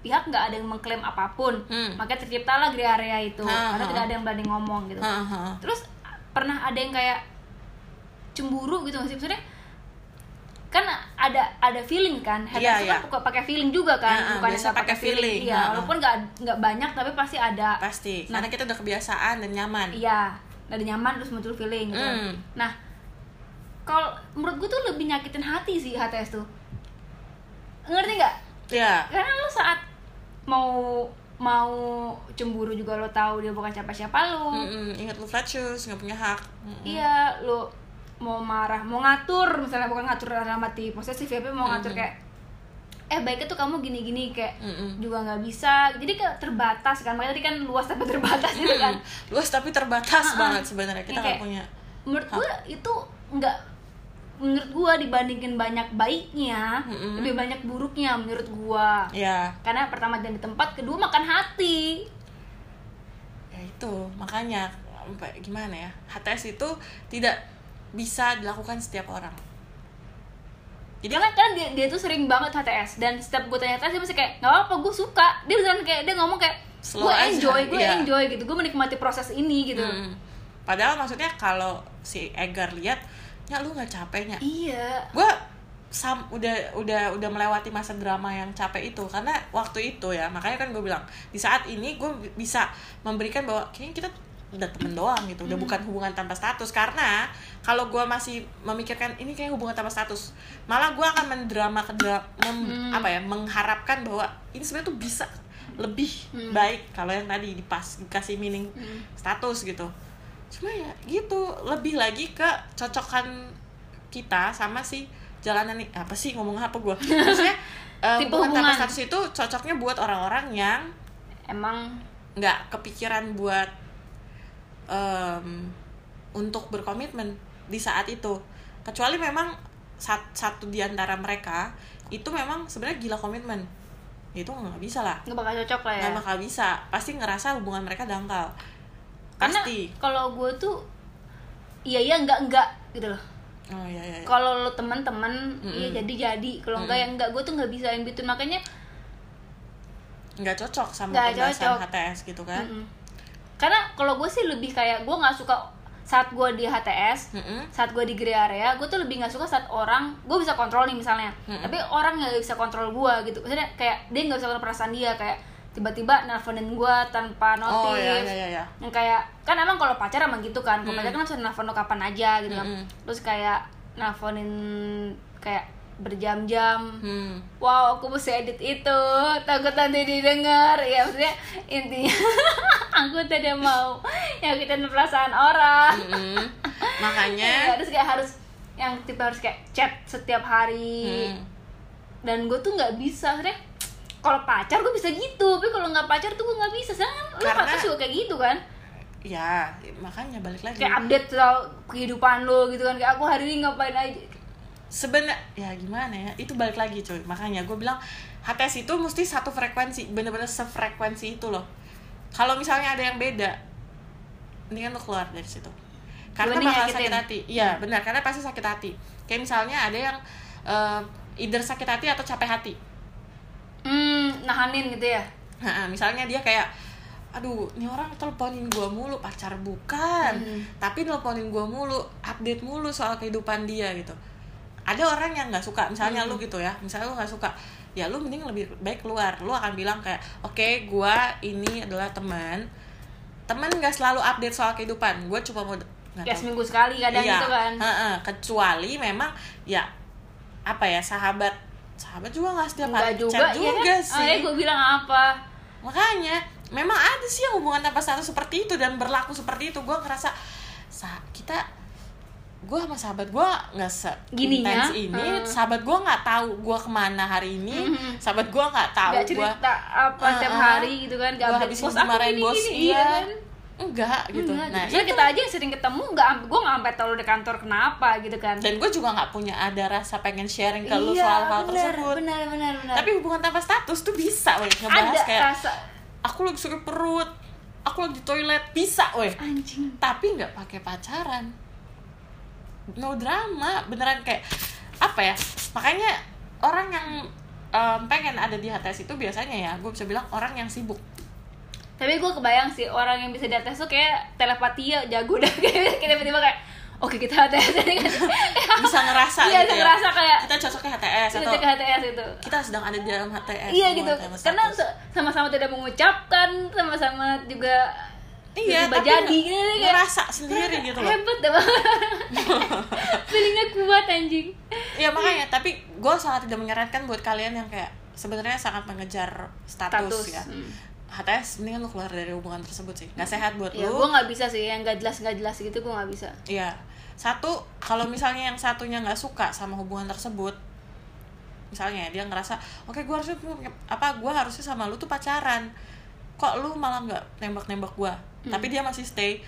Speaker 1: pihak nggak ada yang mengklaim apapun
Speaker 2: Hmm.
Speaker 1: maka terciptalah gray area itu
Speaker 2: Ah,
Speaker 1: karena
Speaker 2: ah.
Speaker 1: tidak ada yang berani ngomong gitu
Speaker 2: Heeh.
Speaker 1: terus pernah ada yang kayak cemburu gitu nggak sih maksudnya kan ada ada feeling kan haters
Speaker 2: Iya,
Speaker 1: itu
Speaker 2: iya.
Speaker 1: kan pokok- pakai feeling juga kan
Speaker 2: Iya,
Speaker 1: bukan yang
Speaker 2: biasa
Speaker 1: nggak
Speaker 2: pakai feeling.
Speaker 1: iya
Speaker 2: Iya.
Speaker 1: walaupun nggak nggak banyak tapi pasti ada
Speaker 2: pasti
Speaker 1: Nah.
Speaker 2: karena kita udah kebiasaan dan nyaman
Speaker 1: iya ada nyaman terus muncul feeling gitu
Speaker 2: Hmm.
Speaker 1: nah kalau menurut gue tuh lebih nyakitin hati sih HTS tuh ngerti nggak
Speaker 2: ya
Speaker 1: karena lo saat mau mau cemburu juga lo tahu dia bukan siapa siapa lo
Speaker 2: Mm-mm. ingat lu flat shoes nggak punya hak Mm-mm.
Speaker 1: Iya, lo mau marah, mau ngatur, misalnya bukan ngatur dalam mati posesif ya, tapi mau ngatur
Speaker 2: Hmm.
Speaker 1: kayak eh baiknya tuh kamu gini-gini kayak
Speaker 2: Mm-mm.
Speaker 1: juga nggak bisa. Jadi kayak terbatas kan. Makanya tadi kan luas tapi terbatas gitu kan.
Speaker 2: luas tapi
Speaker 1: Ah,
Speaker 2: terbatas
Speaker 1: ah.
Speaker 2: banget sebenarnya
Speaker 1: Yang
Speaker 2: kita nggak
Speaker 1: kayak-
Speaker 2: punya
Speaker 1: Menurut
Speaker 2: Ah.
Speaker 1: gua itu nggak menurut gua dibandingin banyak baiknya,
Speaker 2: Mm-mm.
Speaker 1: lebih banyak buruknya menurut gua.
Speaker 2: ya
Speaker 1: Karena pertama dan di tempat, kedua makan hati.
Speaker 2: ya itu makanya apa- gimana ya HTS itu tidak bisa dilakukan setiap orang jadi
Speaker 1: Karena kan dia, dia tuh sering banget HTS dan setiap gue tanya HTS dia masih kayak nggak apa-apa gue suka dia beneran kayak dia ngomong kayak
Speaker 2: Slow
Speaker 1: gue
Speaker 2: aja,
Speaker 1: enjoy gue
Speaker 2: iya.
Speaker 1: enjoy gitu gue menikmati proses ini gitu
Speaker 2: Mm. padahal maksudnya kalau si Edgar lihat ya lu nggak capeknya
Speaker 1: iya
Speaker 2: gue sam udah udah udah melewati masa drama yang capek itu karena waktu itu ya makanya kan gue bilang di saat ini gue bisa memberikan bahwa kayaknya kita udah temen doang gitu
Speaker 1: Hmm.
Speaker 2: udah bukan hubungan tanpa status karena kalau gue masih memikirkan ini kayak hubungan tanpa status malah gue akan mendrama kedra- mem-
Speaker 1: Hmm.
Speaker 2: apa ya mengharapkan bahwa ini sebenarnya tuh bisa lebih
Speaker 1: Hmm.
Speaker 2: baik kalau yang tadi dipas dikasih meaning
Speaker 1: Hmm.
Speaker 2: status gitu cuma ya gitu lebih lagi ke cocokan kita sama si jalanan nih apa sih ngomong apa gue maksudnya eh,
Speaker 1: Tipe
Speaker 2: hubungan
Speaker 1: hubungan.
Speaker 2: tanpa status itu cocoknya buat orang-orang yang
Speaker 1: emang
Speaker 2: nggak kepikiran buat em, untuk berkomitmen di saat itu kecuali memang sat- satu di antara mereka itu memang sebenarnya gila komitmen Ya itu nggak bisa lah
Speaker 1: nggak bakal cocok lah ya
Speaker 2: nggak bakal bisa pasti ngerasa hubungan mereka dangkal
Speaker 1: karena
Speaker 2: pasti
Speaker 1: kalau gue tuh iya iya enggak enggak gitu loh
Speaker 2: oh iya iya iya.
Speaker 1: kalau lo teman-teman
Speaker 2: Mm-mm.
Speaker 1: iya jadi jadi kalau enggak ya enggak gue tuh nggak bisa yang gitu makanya
Speaker 2: nggak cocok sama
Speaker 1: Nggak
Speaker 2: pembahasan
Speaker 1: cocok.
Speaker 2: HTS gitu kan
Speaker 1: mm-mm. karena kalau gue sih lebih kayak gue nggak suka saat gue di HTS
Speaker 2: Mm-mm.
Speaker 1: saat gue di grey area gue tuh lebih nggak suka saat orang gue bisa kontrol nih misalnya
Speaker 2: Mm-mm.
Speaker 1: tapi orang nggak bisa kontrol gue gitu maksudnya kayak dia nggak bisa kontrol perasaan dia kayak tiba-tiba nelfonin gue tanpa notif
Speaker 2: oh iya iya iya, iya.
Speaker 1: yang kayak kan emang kalau pacar emang gitu kan kalau
Speaker 2: Hmm.
Speaker 1: pacar kan bisa nelfon lo kapan aja gitu kan
Speaker 2: Mm-mm.
Speaker 1: terus kayak nelfonin kayak berjam-jam
Speaker 2: Hmm.
Speaker 1: wow aku mesti edit itu takut nanti didengar ya maksudnya intinya aku tidak mau nyakitin perasaan orang
Speaker 2: Mm-mm.
Speaker 1: Ya,
Speaker 2: makanya
Speaker 1: terus kayak harus yang tipe harus kayak chat setiap hari
Speaker 2: Hmm.
Speaker 1: dan gue tuh nggak bisa maksudnya kalau pacar gue bisa gitu tapi kalau nggak pacar tuh gue nggak bisa sedangkan lo
Speaker 2: Karena-
Speaker 1: pacar juga kayak gitu kan
Speaker 2: ya makanya balik lagi
Speaker 1: kayak update soal kehidupan lo gitu kan kayak aku hari ini ngapain aja
Speaker 2: sebenarnya ya gimana ya itu balik lagi cuy makanya gue bilang HTS itu mesti satu frekuensi bener-bener sefrekuensi itu loh kalau misalnya ada yang beda ini kan lo keluar dari situ karena
Speaker 1: Dibanding
Speaker 2: bakal
Speaker 1: nyakitin.
Speaker 2: sakit hati iya benar karena pasti sakit hati kayak misalnya ada yang eh, either sakit hati atau capek hati
Speaker 1: hmm nahanin gitu ya
Speaker 2: Nah, misalnya dia kayak aduh ini orang teleponin gua mulu pacar bukan
Speaker 1: Hmm.
Speaker 2: tapi teleponin gua mulu update mulu soal kehidupan dia gitu ada orang yang nggak suka misalnya lu
Speaker 1: Hmm.
Speaker 2: gitu ya misalnya lu nggak suka ya lu mending lebih baik keluar lu akan bilang kayak oke gua ini adalah teman teman nggak selalu update soal kehidupan gua cuma mau nggak
Speaker 1: ya
Speaker 2: tahu.
Speaker 1: seminggu sekali kadang
Speaker 2: Iya,
Speaker 1: gitu kan
Speaker 2: heeh, kecuali memang ya apa ya sahabat sahabat juga nggak setiap
Speaker 1: enggak
Speaker 2: hari
Speaker 1: juga,
Speaker 2: chat
Speaker 1: ya
Speaker 2: juga
Speaker 1: kan
Speaker 2: sih
Speaker 1: akhirnya gue bilang apa
Speaker 2: makanya memang ada sih yang hubungan tanpa status seperti itu dan berlaku seperti itu gue ngerasa sa kita gue sama sahabat gue nggak se
Speaker 1: Gininya,
Speaker 2: intens ini
Speaker 1: hmm.
Speaker 2: sahabat gue nggak tahu gue kemana hari ini
Speaker 1: Mhm.
Speaker 2: sahabat gue nggak tahu
Speaker 1: nggak
Speaker 2: gue
Speaker 1: cerita apa
Speaker 2: Ah,
Speaker 1: setiap
Speaker 2: ah.
Speaker 1: hari gitu kan nggak
Speaker 2: gue
Speaker 1: update
Speaker 2: habis
Speaker 1: bos aku
Speaker 2: dimarahin
Speaker 1: gini
Speaker 2: bos
Speaker 1: gini
Speaker 2: iya
Speaker 1: iya kan
Speaker 2: enggak gitu
Speaker 1: Enggak,
Speaker 2: nah
Speaker 1: Soalnya kita aja yang sering ketemu nggak am- gue nggak sampai tau lo di kantor kenapa gitu kan
Speaker 2: dan gue juga nggak punya ada rasa pengen sharing ke lu
Speaker 1: Iya,
Speaker 2: soal hal
Speaker 1: benar,
Speaker 2: tersebut
Speaker 1: benar benar benar
Speaker 2: tapi hubungan tanpa status tuh bisa weh ngebahas
Speaker 1: ada
Speaker 2: kayak
Speaker 1: rasa
Speaker 2: aku lagi sakit perut aku lagi di toilet bisa weh
Speaker 1: anjing
Speaker 2: tapi nggak pakai pacaran no drama beneran kayak apa ya makanya orang yang em, pengen ada di HTS itu biasanya ya gue bisa bilang orang yang sibuk
Speaker 1: tapi gue kebayang sih orang yang bisa di atas tuh kayak telepati ya jago dah kayak tiba-tiba kayak oke kita HTS ini kan
Speaker 2: bisa ngerasa
Speaker 1: iya saya
Speaker 2: gitu ya.
Speaker 1: ngerasa kayak
Speaker 2: kita cocoknya HTS
Speaker 1: kita
Speaker 2: atau Eh,
Speaker 1: cek HTS itu
Speaker 2: kita sedang ada di dalam HTS
Speaker 1: gitu. iya
Speaker 2: hubungan
Speaker 1: gitu
Speaker 2: sama
Speaker 1: karena
Speaker 2: status.
Speaker 1: se- sama-sama tidak mengucapkan sama-sama juga
Speaker 2: iya
Speaker 1: tiba
Speaker 2: tapi
Speaker 1: jadi
Speaker 2: nge-
Speaker 1: gitu deh, kayak
Speaker 2: ngerasa sendiri gitu loh
Speaker 1: hebat dah feelingnya kuat anjing
Speaker 2: Iya makanya, tapi gue sangat tidak menyarankan buat kalian yang kayak sebenarnya sangat mengejar status,
Speaker 1: status
Speaker 2: ya.
Speaker 1: Hmm.
Speaker 2: HTS mendingan lu keluar dari hubungan tersebut sih. Gak sehat buat
Speaker 1: ya
Speaker 2: lu.
Speaker 1: gue nggak bisa sih yang nggak jelas nggak jelas gitu gue nggak bisa
Speaker 2: Iya. Satu, kalau misalnya yang satunya nggak suka sama hubungan tersebut, misalnya dia ngerasa, oke gue harusnya apa gue harusnya sama lu tuh pacaran, kok lu malah nggak nembak-nembak gue, tapi dia masih stay,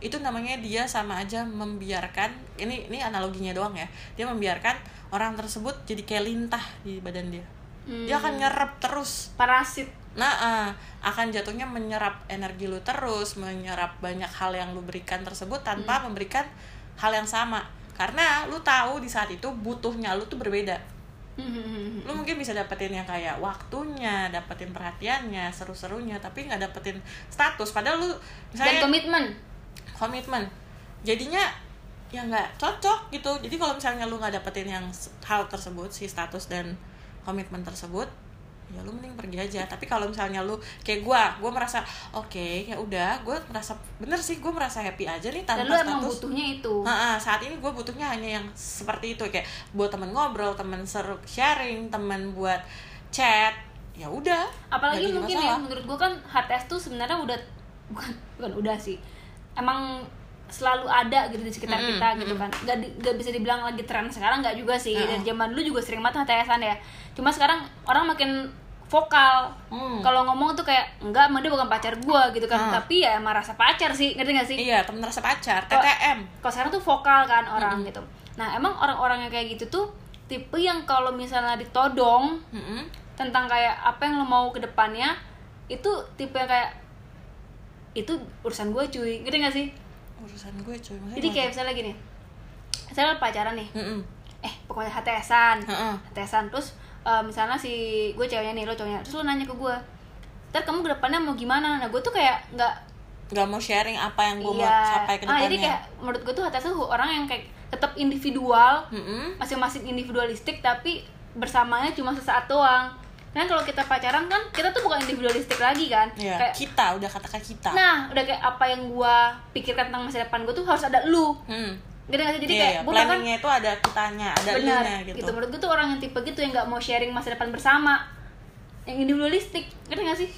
Speaker 2: itu namanya dia sama aja membiarkan, ini ini analoginya doang ya, dia membiarkan orang tersebut jadi kayak lintah di badan dia,
Speaker 1: Hmm.
Speaker 2: dia akan nyerap terus
Speaker 1: parasit
Speaker 2: Nah, eh, akan jatuhnya menyerap energi lu terus, menyerap banyak hal yang lu berikan tersebut tanpa
Speaker 1: Hmm.
Speaker 2: memberikan hal yang sama. Karena lu tahu di saat itu butuhnya lu tuh berbeda.
Speaker 1: Hmm.
Speaker 2: Lu mungkin bisa dapetin yang kayak waktunya, dapetin perhatiannya, seru-serunya, tapi nggak dapetin status. Padahal lu
Speaker 1: dan
Speaker 2: misalnya
Speaker 1: komitmen
Speaker 2: komitmen. Jadinya ya nggak cocok gitu. Jadi kalau misalnya lu nggak dapetin yang s- hal tersebut, si status dan komitmen tersebut, ya lu mending pergi aja tapi kalau misalnya lu kayak gua gua merasa oke ya udah gua merasa bener sih gua merasa happy aja nih
Speaker 1: dan
Speaker 2: tanpa
Speaker 1: lu emang
Speaker 2: status Nah,
Speaker 1: butuhnya itu
Speaker 2: Ha-ha, saat ini gue butuhnya hanya yang seperti itu kayak buat temen ngobrol temen seru sharing temen buat chat ya udah
Speaker 1: apalagi
Speaker 2: nggak jadi
Speaker 1: mungkin ya
Speaker 2: masalah.
Speaker 1: menurut gue kan hard test tuh sebenarnya udah bukan bukan udah sih emang selalu ada gitu di sekitar
Speaker 2: Mm-mm,
Speaker 1: kita gitu kan gak, di- gak bisa dibilang lagi tren sekarang nggak juga sih dari zaman dulu juga sering banget HTSan ya cuma sekarang orang makin vokal
Speaker 2: Hmm.
Speaker 1: kalau ngomong tuh kayak enggak emang dia bukan pacar gue gitu kan tapi ya emang rasa pacar sih ngerti gak sih
Speaker 2: iya temen rasa pacar
Speaker 1: Kalau-
Speaker 2: TTM
Speaker 1: kalau sekarang tuh vokal kan orang gitu nah emang orang-orang yang kayak gitu tuh tipe yang kalau misalnya ditodong
Speaker 2: Mm-mm.
Speaker 1: tentang kayak apa yang lo mau ke depannya itu tipe yang kayak itu urusan gue cuy gitu gak sih
Speaker 2: urusan gue cuy maksudnya
Speaker 1: jadi
Speaker 2: gimana?
Speaker 1: kayak misalnya gini saya pacaran nih
Speaker 2: Mm-mm.
Speaker 1: eh pokoknya HTSan
Speaker 2: Ha-ha.
Speaker 1: HTSan terus eh, misalnya si gue ceweknya nih lo cowoknya terus lo nanya ke gue ntar kamu ke depannya mau gimana nah gue tuh kayak nggak
Speaker 2: nggak mau sharing apa yang gue mau
Speaker 1: iya
Speaker 2: capai ke
Speaker 1: ah jadi
Speaker 2: depannya
Speaker 1: kayak menurut gue tuh HTS tuh orang yang kayak tetap individual
Speaker 2: Mm-mm.
Speaker 1: masing-masing individualistik tapi bersamanya cuma sesaat doang. Kan kalau kita pacaran kan kita tuh bukan individualistik lagi kan.
Speaker 2: Iya,
Speaker 1: Kayak
Speaker 2: kita udah katakan kita
Speaker 1: nah, udah kayak apa yang gua pikirkan tentang masa depan gua tuh harus ada lu.
Speaker 2: Hmm.
Speaker 1: Gitu nggak sih? Jadi
Speaker 2: Iya,
Speaker 1: kayak
Speaker 2: iya.
Speaker 1: gua bahkan
Speaker 2: planningnya itu ada kitanya ada
Speaker 1: benar
Speaker 2: lunya
Speaker 1: gitu.
Speaker 2: gitu,
Speaker 1: Menurut gua tuh orang yang tipe gitu yang nggak mau sharing masa depan bersama. Yang individualistik. Ngerti nggak sih?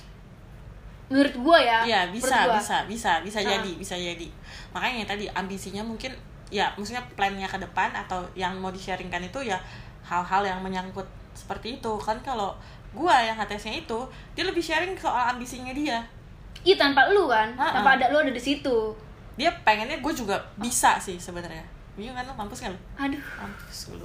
Speaker 1: Menurut gua ya.
Speaker 2: Iya bisa
Speaker 1: menurut gua.
Speaker 2: bisa bisa bisa
Speaker 1: Ah.
Speaker 2: jadi bisa jadi makanya tadi ambisinya mungkin ya maksudnya plannya ke depan atau yang mau di-sharingkan itu ya hal-hal yang menyangkut seperti itu kan kalau gua yang HTS-nya itu dia lebih sharing soal ambisinya dia
Speaker 1: Iya, tanpa lu kan.
Speaker 2: Ah,
Speaker 1: Tanpa
Speaker 2: ah.
Speaker 1: ada lu ada di situ.
Speaker 2: dia pengennya gue juga bisa sih sebenarnya bingung kan lu mampus nggak lu
Speaker 1: Aduh.
Speaker 2: mampus lu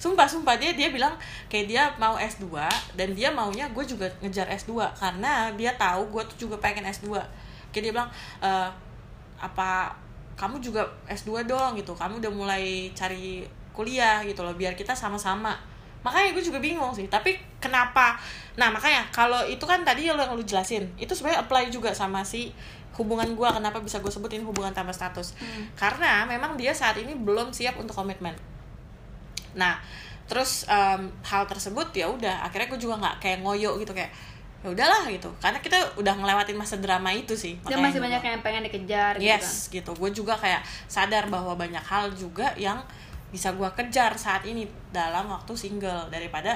Speaker 2: sumpah sumpah dia dia bilang kayak dia mau S2 dan dia maunya gue juga ngejar S2 karena dia tahu gue tuh juga pengen S2 kayak dia bilang "Eh, apa kamu juga S2 dong gitu kamu udah mulai cari kuliah gitu loh biar kita sama-sama makanya gue juga bingung sih tapi kenapa nah makanya kalau itu kan tadi yang lo yang lo jelasin itu sebenarnya apply juga sama si hubungan gue kenapa bisa gue sebutin hubungan tanpa status karena memang dia saat ini belum siap untuk komitmen Nah, terus em, hal tersebut ya udah akhirnya gue juga nggak kayak ngoyo gitu kayak ya udahlah gitu. Karena kita udah ngelewatin masa drama itu sih.
Speaker 1: Dan
Speaker 2: makanya
Speaker 1: masih
Speaker 2: gua-
Speaker 1: banyak yang pengen dikejar gitu kan.
Speaker 2: Yes, gitu. Gue juga kayak sadar bahwa banyak hal juga yang bisa gue kejar saat ini dalam waktu single daripada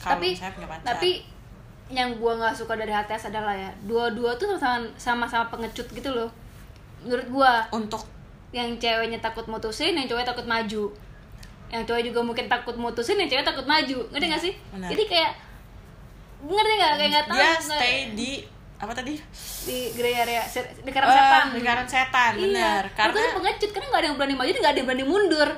Speaker 2: kalau
Speaker 1: Tapi-
Speaker 2: saya punya pacar.
Speaker 1: tapi yang gua nggak suka dari HTS adalah ya dua-dua tuh sama- sama-sama pengecut gitu loh menurut gua
Speaker 2: untuk
Speaker 1: yang ceweknya takut mutusin yang cowoknya takut maju yang cowok juga mungkin takut mutusin yang cewek takut maju ngerti gak sih
Speaker 2: Benar. Ya,
Speaker 1: jadi kayak ngerti gak kayak nggak tahu
Speaker 2: dia
Speaker 1: nggak-
Speaker 2: stay di apa tadi?
Speaker 1: di grey area se- di karang
Speaker 2: Eh,
Speaker 1: setan
Speaker 2: lingkaran setan,
Speaker 1: iya.
Speaker 2: bener.
Speaker 1: karena
Speaker 2: Karena
Speaker 1: tuh pengecut karena nggak ada yang berani maju dan nggak ada yang berani mundur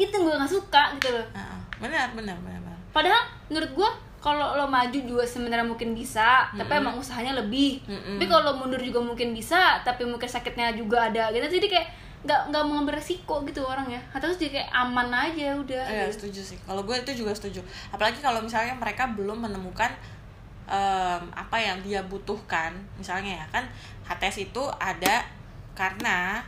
Speaker 1: itu yang gua nggak suka gitu loh
Speaker 2: Ah, ah. benar, benar, benar, benar.
Speaker 1: Padahal menurut gua kalau lo maju juga sebenarnya mungkin bisa, tapi emang usahanya lebih.
Speaker 2: Mm-mm.
Speaker 1: Tapi kalau lo mundur juga mungkin bisa, tapi mungkin sakitnya juga ada. Gitu jadi kayak nggak nggak mau ngambil resiko gitu orang ya. Atau terus jadi kayak aman aja udah.
Speaker 2: Iya
Speaker 1: gitu.
Speaker 2: setuju sih. Kalau gue itu juga setuju. Apalagi kalau misalnya mereka belum menemukan em, apa yang dia butuhkan, misalnya ya kan HTS itu ada karena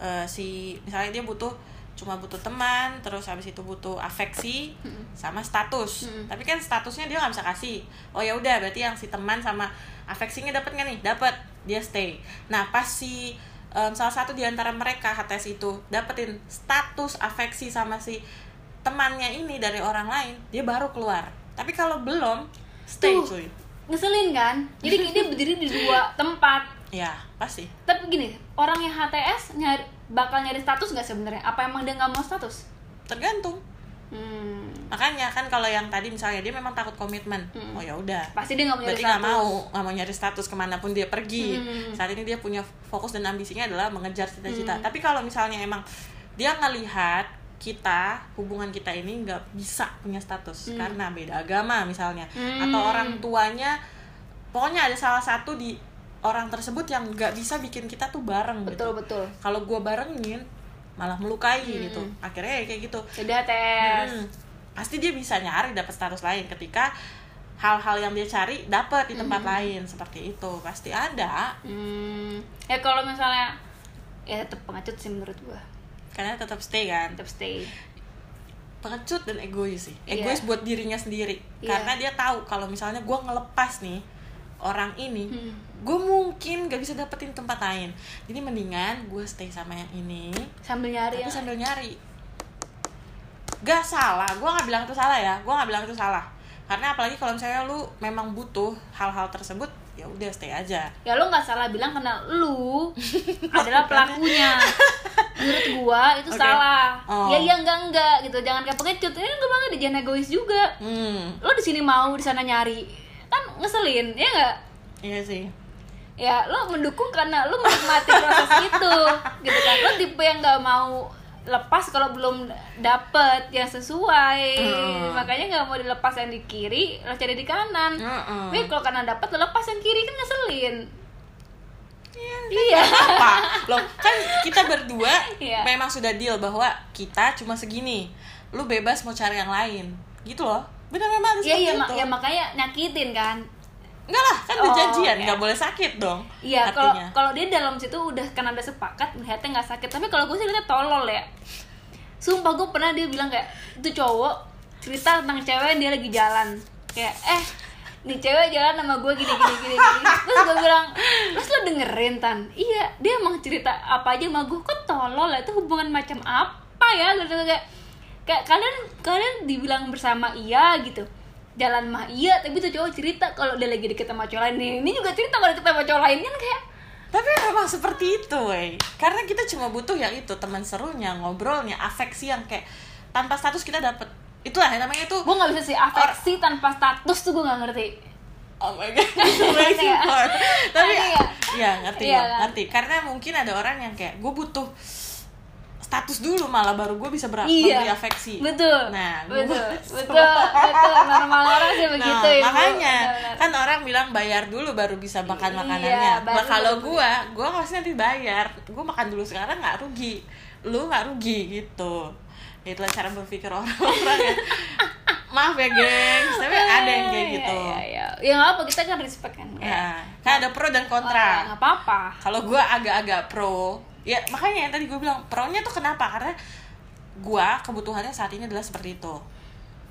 Speaker 2: eh, si misalnya dia butuh cuma butuh teman, terus habis itu butuh afeksi sama status.
Speaker 1: Mm-mm.
Speaker 2: Tapi kan statusnya dia nggak bisa kasih. Oh ya udah, berarti yang si teman sama afeksinya dapat nggak nih? Dapat. Dia stay. Nah pas si em, salah satu di antara mereka HTS itu dapetin status afeksi sama si temannya ini dari orang lain, dia baru keluar. Tapi kalau belum, stay
Speaker 1: Tuh.
Speaker 2: cuy.
Speaker 1: Ngeselin kan? Jadi kayak dia berdiri di dua tempat.
Speaker 2: Ya pasti.
Speaker 1: Tapi gini, orang yang HTS nyari, bakal nyari status nggak sebenarnya? Apa emang dia nggak mau status?
Speaker 2: Tergantung.
Speaker 1: Hmm,
Speaker 2: Makanya kan kalau yang tadi misalnya dia memang takut komitmen.
Speaker 1: Mm-mm.
Speaker 2: Oh ya udah.
Speaker 1: pasti dia nggak mau nyari
Speaker 2: berarti
Speaker 1: status.
Speaker 2: nggak mau nggak mau nyari status kemanapun dia pergi
Speaker 1: Hmm.
Speaker 2: saat ini dia punya fokus dan ambisinya adalah mengejar cita-cita
Speaker 1: Hmm.
Speaker 2: tapi kalau misalnya emang dia ngelihat kita hubungan kita ini nggak bisa punya status
Speaker 1: Hmm.
Speaker 2: karena beda agama misalnya
Speaker 1: Hmm.
Speaker 2: atau orang tuanya pokoknya ada salah satu di orang tersebut yang nggak bisa bikin kita tuh bareng
Speaker 1: Betul
Speaker 2: gitu
Speaker 1: betul.
Speaker 2: kalau gue barengin malah melukai
Speaker 1: Hmm.
Speaker 2: gitu akhirnya ya kayak gitu
Speaker 1: Jadi HTS.
Speaker 2: Hmm. Pasti dia bisa nyari dapat status lain ketika hal-hal yang dia cari dapat di tempat lain seperti itu. Pasti ada.
Speaker 1: Hmm, ya kalau misalnya ya tetap pengecut sih menurut gua
Speaker 2: Karena tetap stay kan.
Speaker 1: tetap stay
Speaker 2: pengecut dan egois sih
Speaker 1: Iya.
Speaker 2: egois buat dirinya sendiri
Speaker 1: Iya.
Speaker 2: karena dia tahu kalau misalnya gue ngelepas nih orang ini
Speaker 1: Hmm.
Speaker 2: gue mungkin gak bisa dapetin tempat lain jadi mendingan gue stay sama yang ini
Speaker 1: sambil nyari
Speaker 2: tapi
Speaker 1: yang
Speaker 2: sambil nyari gak salah gue nggak bilang itu salah ya gue nggak bilang itu salah karena apalagi kalau misalnya lu memang butuh hal-hal tersebut ya udah stay aja
Speaker 1: ya lo nggak salah bilang karena lu adalah pelakunya menurut gua itu
Speaker 2: Oke.
Speaker 1: salah
Speaker 2: Oh.
Speaker 1: ya iya enggak enggak gitu jangan kayak pengecut ini gue banget jangan egois juga
Speaker 2: hmm
Speaker 1: lo di sini mau di sana nyari kan ngeselin ya enggak
Speaker 2: iya sih
Speaker 1: ya lo mendukung karena lo menikmati proses itu gitu kan lo tipe yang nggak mau lepas kalau belum dapet yang sesuai
Speaker 2: Mm.
Speaker 1: makanya nggak mau dilepas yang di kiri lo cari di kanan
Speaker 2: Mm-mm.
Speaker 1: tapi kalau kanan dapet lo lepas yang kiri kan ngeselin
Speaker 2: Kan
Speaker 1: iya
Speaker 2: apa loh kan kita berdua
Speaker 1: Iya.
Speaker 2: memang sudah deal bahwa kita cuma segini lu bebas mau cari yang lain gitu loh benar memang
Speaker 1: iya
Speaker 2: harus seperti
Speaker 1: iya ma-
Speaker 2: itu.
Speaker 1: ya makanya nyakitin kan
Speaker 2: enggak lah kan udah
Speaker 1: Oh,
Speaker 2: janjian
Speaker 1: iya.
Speaker 2: nggak boleh sakit dong
Speaker 1: Iya, kalau
Speaker 2: hatinya
Speaker 1: kalau dia dalam situ udah karena udah sepakat melihatnya nggak sakit. Tapi kalau gue sih lihatnya tolol ya. Sumpah gue pernah dia bilang kayak itu cowok cerita tentang cewek yang dia lagi jalan kayak eh nih cewek jalan sama gue gini gini gini, gini. terus gue bilang terus lo dengerin tan iya dia emang cerita apa aja sama gue kok tolol ya itu hubungan macam apa ya gitu kayak kayak kalian kalian dibilang bersama iya gitu jalan mah iya tapi tuh cowok cerita kalau dia lagi deket sama cowok lain Nih, ini juga cerita kalau deket sama cowok lain kan kayak
Speaker 2: tapi memang seperti itu wey karena kita cuma butuh yang itu teman serunya ngobrolnya afeksi yang kayak tanpa status kita dapet itulah yang namanya itu
Speaker 1: gue nggak bisa sih afeksi tanpa status tuh gue nggak ngerti
Speaker 2: Oh my god, amazing
Speaker 1: Iya.
Speaker 2: part. Tapi
Speaker 1: Aneh ya?
Speaker 2: ya ngerti
Speaker 1: Iya
Speaker 2: gua,
Speaker 1: kan?
Speaker 2: ngerti. Karena mungkin ada orang yang kayak gue butuh status dulu malah baru gue bisa ber-
Speaker 1: iya
Speaker 2: memberi afeksi.
Speaker 1: betul
Speaker 2: Nah, gua-
Speaker 1: betul betul betul normal orang sih
Speaker 2: Nah,
Speaker 1: begitu Ibu.
Speaker 2: makanya
Speaker 1: gitu ya, Benar.
Speaker 2: kan orang bilang bayar dulu baru bisa makan
Speaker 1: Iya,
Speaker 2: makanannya.
Speaker 1: baru
Speaker 2: Nah, kalau
Speaker 1: baru
Speaker 2: gue, gue pasti nanti bayar. Gue makan dulu sekarang nggak rugi, lu nggak rugi gitu. Itulah cara berpikir orang-orang. ya. Maaf ya, gengs, tapi ada yang kayak
Speaker 1: Iya,
Speaker 2: gitu.
Speaker 1: iya, iya. ya nggak apa kita kan respect kan Kayak,
Speaker 2: Nah, kan ada pro dan
Speaker 1: "Oh,
Speaker 2: kontra.
Speaker 1: nggak apa-apa
Speaker 2: kalau gue agak-agak pro ya makanya yang tadi gue bilang pro-nya tuh kenapa karena gue kebutuhannya saat ini adalah seperti itu